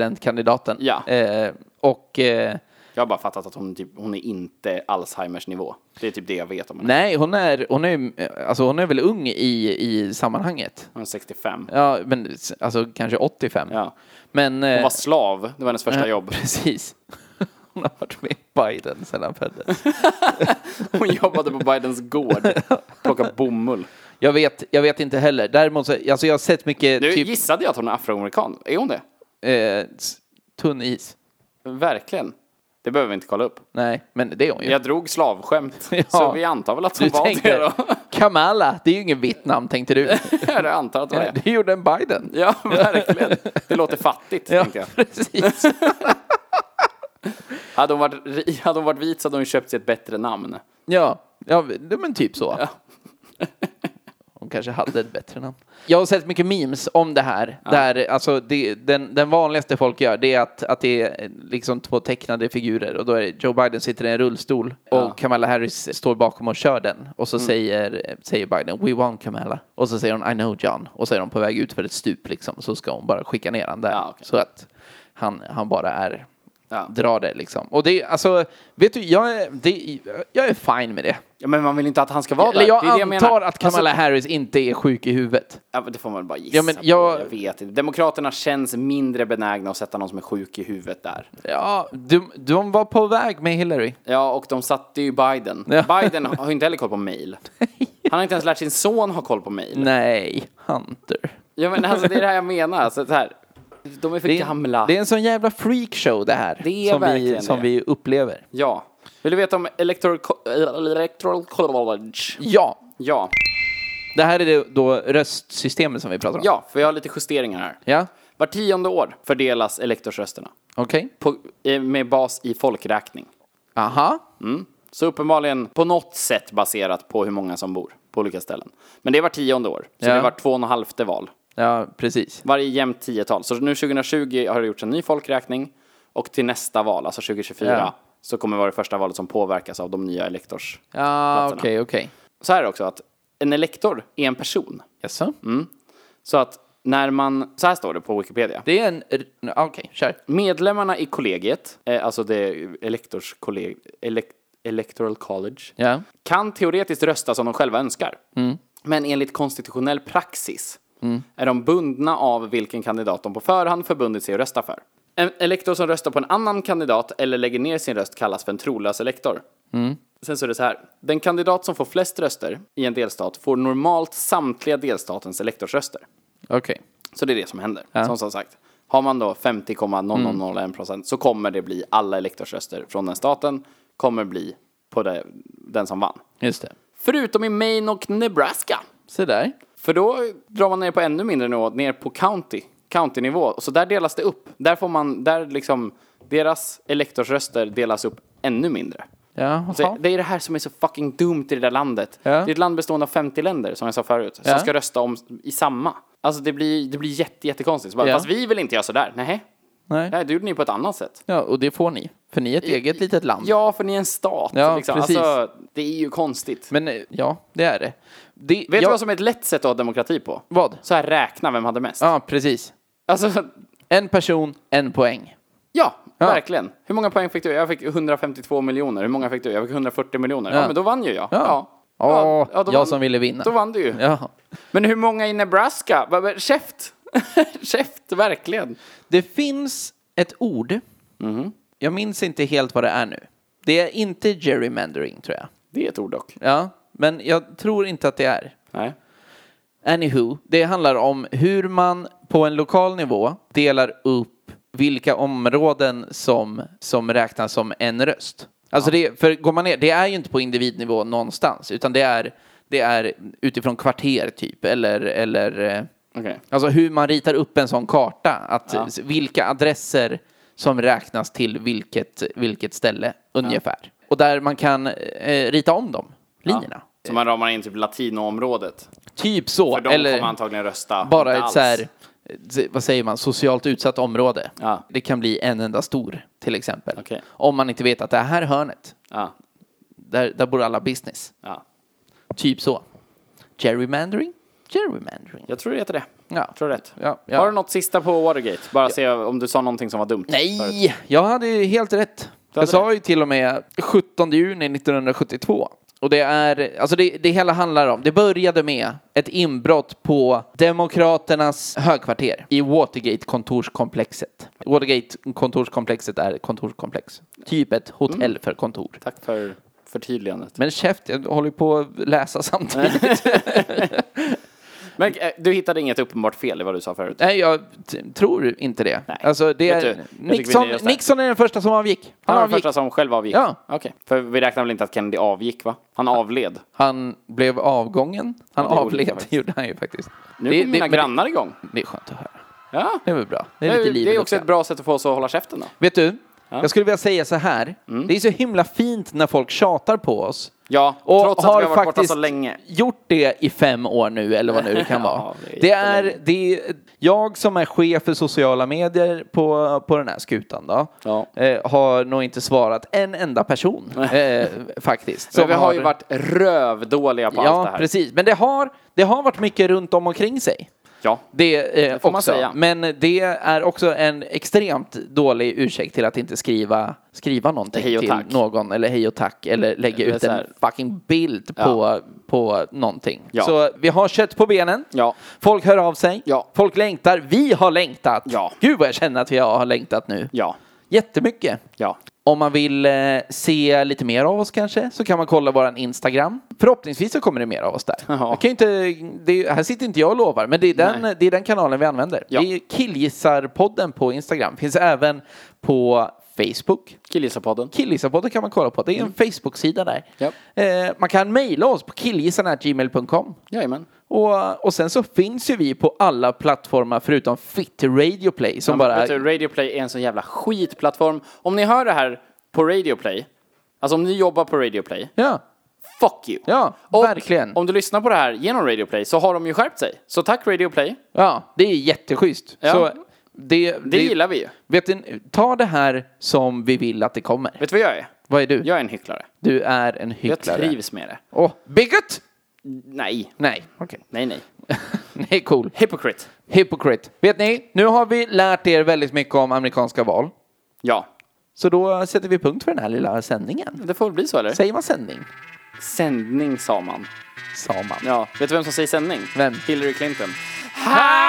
vicepresidentkandidaten. Ja. Eh, och eh, Jag har bara fattat att hon, typ, hon är inte Alzheimers nivå. Det är typ det jag vet om henne. nej, hon är, hon, är, ju- alltså, hon är väl ung i, i sammanhanget. Hon är 65. Ja, men s- alltså kanske 85. Ja. Men, eh, Hon var slav, det var hennes första jobb. Precis. Hon har varit med Biden sedan han föddes. Hon jobbade på Bidens gård, plockade bomull. Jag vet, jag vet inte heller. Däremot så, alltså jag har sett mycket Nu typ gissade jag att hon är afroamerikan. Är hon det? eh, s- tunn is. Verkligen. Det behöver vi inte kolla upp. Nej, men det är hon ju. Jag drog slavskämt, Ja. så vi antar väl att hon du var det tänkte då. Kamala, det är ju ingen vietnam tänkte du. jag antar att det var det. det gjorde en Biden. Ja, verkligen. Det låter fattigt, Ja, tänkte jag. precis. Hade hon, varit, ri- hade hon varit vit så hade hon köpt sig ett bättre namn. Ja, ja det- men typ så. Ja. Hon kanske hade ett bättre namn. Jag har sett mycket memes om det här. Där, alltså, det, den, den vanligaste folk gör det är att, att det är liksom två tecknade figurer och då är det Joe Biden sitter i en rullstol och Kamala Harris står bakom och kör den. Och så säger, säger Biden “We want Kamala” och så säger hon “I know John” och så är de på väg ut för ett stup liksom. Så ska hon bara skicka ner han där. Ja, okej. Så att han, han bara är Ja. drar det liksom. Och det är alltså, vet du, jag är, det, jag är fine med det. Ja, men man vill inte att han ska vara där. Eller jag det är det antar jag menar. att Kamala Alltså, Harris inte är sjuk i huvudet. ja, men det får man väl bara gissa Ja, men på. jag- jag vet inte. Demokraterna känns mindre benägna att sätta någon som är sjuk i huvudet där. Ja, de, de var på väg med Hillary. Ja, och de satte ju Biden. Ja. Biden har ju inte heller koll på mail. Han har inte ens lärt sin son ha koll på mail. Nej, Hunter. Ja, men alltså, det är det här jag menar. Alltså, det här. De är för Det gamla. är, det är en sån jävla freakshow det här. Det är som vi, verkligen som det. vi upplever. Ja. Vill du veta om electoral, co- electoral college? Ja, Ja. det här är det då röstsystemet som vi pratar om. ja, för jag har lite justeringar här. Ja, Var tionde år fördelas elektorsrösterna okej. på, eh, med bas i folkräkning. Aha. Så uppenbarligen på något sätt baserat på hur många som bor på olika ställen. Men det var tionde år, så Ja. det var två och en halvte val. Ja, precis. Varje jämnt tiotal. Så nu 2020 har det gjorts en ny folkräkning och till nästa val, alltså 2024, Ja. så kommer det vara det första valet som påverkas av de nya elektors. Ja, Ah, okej, Platserna. okej. Så här är det också att en elektor är en person. Jaså? Mm. Så att när man, så här står det på Wikipedia. Det är en... r- Okej, kör. Medlemmarna i kollegiet, eh, alltså det elektorskolleg, elek, electoral college, Ja. kan teoretiskt rösta som de själva önskar. Men enligt konstitutionell praxis är de bundna av vilken kandidat de på förhand förbundit sig att rösta för. En elektor som röstar på en annan kandidat eller lägger ner sin röst kallas för en trolös elektor. Sen så är det så här. Den kandidat som får flest röster i en delstat får normalt samtliga delstatens elektorsröster. Okej. Så det är det som händer. Som, som sagt, har man då 50,0001 procent så kommer det bli alla elektorsröster från den staten kommer bli på det, den som vann. Just det. Förutom i Maine och Nebraska. Se där. För då drar man ner på ännu mindre nivå, ner på county, county-nivå. Och Så där delas det upp. Där får man, där liksom, deras elektorsröster delas upp ännu mindre. Ja, Så det är det här som är så fucking dumt i det där landet. Ja. Det är ett land bestående av 50 länder, som jag sa förut, Ja. som ska rösta om i samma. Alltså det blir, det blir jätte, jättekonstigt. Så Bara, Ja. Fast vi vill inte göra sådär. Nej. Nej. Nej, det gjorde ni på ett annat sätt. Ja, och det får ni. För ni är ett eget litet land. Ja, för ni är en stat. Ja, liksom. precis. alltså, det är ju konstigt. Men eh, ja, det är det. det jag, Vet du vad som är ett lätt sätt att ha demokrati på? Vad? Så här räkna vem hade mest. Ja, precis. Alltså, En person, en poäng. ja, Ja. verkligen. Hur många poäng fick du? Jag fick 152 miljoner. Hur många fick du? Jag fick 140 miljoner. Ja, Ja. men då vann ju jag. Ja. Åh, jag då vann- som ville vinna. Då vann du ju. Ja. Men hur många i Nebraska? Va- va- Käft! Käft, verkligen. Det finns ett ord. Mm-hmm. Jag minns inte helt vad det är nu. Det är inte gerrymandering, tror jag. Det är ett ord dock. Ja, men jag tror inte att det är. Nej. Anywho, det handlar om hur man på en lokal nivå delar upp vilka områden som, som räknas som en röst. Alltså det, för går man ner, det är ju inte på individnivå någonstans, utan det är, det är utifrån kvarter typ, eller, eller eh, Okej. alltså hur man ritar upp en sån karta, att s- vilka adresser som räknas till vilket, vilket ställe ungefär. Och där man kan eh, rita om dem, linjerna. Så man ramar in typ latinoområdet. Typ så. För de eller... kommer antagligen rösta. Bara inte ett alls. så här, eh, vad säger man, socialt utsatt område. Ja. Det kan bli en enda stor till exempel. Okej. Om man inte vet att det här hörnet, Ja. där, där bor alla business. ja. Typ så. Gerrymandering? Gerrymandering. Jag tror det heter det. Ja. Jag tror rätt. Ja, ja. Har du något sista på Watergate? Bara se om du sa någonting som var dumt. förut. Nej, jag hade ju helt rätt. Jag hade sa ju till och med 17 juni 1972. Och det är, alltså det, det hela handlar om, det började med ett inbrott på Demokraternas högkvarter i Watergate-kontorskomplexet. Watergate-kontorskomplexet är ett kontorskomplex. Typ ett hotell Mm. för kontor. Tack för förtydligandet. Men käft, jag håller ju på att läsa samtidigt. Men eh, du hittade inget uppenbart fel i vad du sa förut? Nej, jag t- tror inte det. Nej. Alltså, det Jag är, tror- jag tycker vi Nixon, nöjer oss där. Nixon är den första som avgick. Han, Han var den avgick. första som själv avgick? Ja. Okej. För vi räknar väl inte att Kennedy avgick, va? Han avled. han blev avgången. Han det gjorde han avled, faktiskt. gjorde han ju faktiskt. Nu det, kom mina det, grannar igång. det är skönt att höra. Ja. Det är väl bra. Det Det är lite är, liv det i är också luften. ett bra sätt att få oss att hålla käften då. Vet du? Jag skulle vilja säga så här. Det är så himla fint när folk tjatar på oss. Mm. Ja, Och trots har att vi har varit borta faktiskt så länge. gjort det i fem år nu, eller vad nu det kan Ja, vara. det är det är, jättelänge. det är, jag som är chef för sociala medier på, på den här skutan då, Ja. eh, har nog inte svarat en enda person eh, faktiskt. Så som vi har ju varit rövdåliga på allt det Ja, här. precis. Men det har, det har varit mycket runt om omkring sig. Ja, Det, eh, får också. man säga. Men det är också en extremt dålig ursäkt till att inte skriva, skriva någonting Hej och till tack. Mm. någon eller hej och tack eller lägga Eller ut så en här. fucking bild på, på någonting. Ja. Så vi har kött på benen. Ja. Folk hör av sig. Ja. Folk längtar. Vi har längtat. Ja. Gud vad jag känner att vi har längtat nu. ja, Jättemycket. ja. Om man vill eh, se lite mer av oss kanske så kan man kolla våran Instagram. Förhoppningsvis så kommer det mer av oss där. Ja. Jag kan ju inte, det, här sitter inte jag och lovar, men det är den, det är den kanalen vi använder. Ja. Det är Killgissarpodden på Instagram. Finns även på Facebook. Killgissarpodden. Killgissarpodden kan man kolla på. Det är en Mm. Facebook-sida där. Japp. Eh, man kan mejla oss på killgissarna.gmail.com. Jajamän. Och, och sen så finns ju vi på alla plattformar förutom Fit Radio Play som Men bara... Vet du, Radio Play är en sån jävla skitplattform. Om ni hör det här på Radio Play, alltså om ni jobbar på Radio Play, Ja, fuck you. ja, Och verkligen. Om du lyssnar på det här genom Radio Play så har de ju skärpt sig. Så tack Radio Play. Ja, det är jätteschysst. Ja. Så det, det, Det gillar vi ju. Vet du, ta det här som vi vill att det kommer. Vet du vad jag är? Vad är du? Jag är en hycklare. Du är en Jag hycklare. trivs med det. Åh, bigot! Nej, Nej, okej. nej, nej. Nej, cool. Hypocrite. Hypocrite. Vet ni, nu har vi lärt er väldigt mycket om amerikanska val. Ja, Så då sätter vi punkt för den här lilla sändningen. det får väl bli så eller? Säger man sändning? Sändning sa man. Sa man. Ja, vet du vem som säger sändning? Vem? Hillary Clinton. Ah!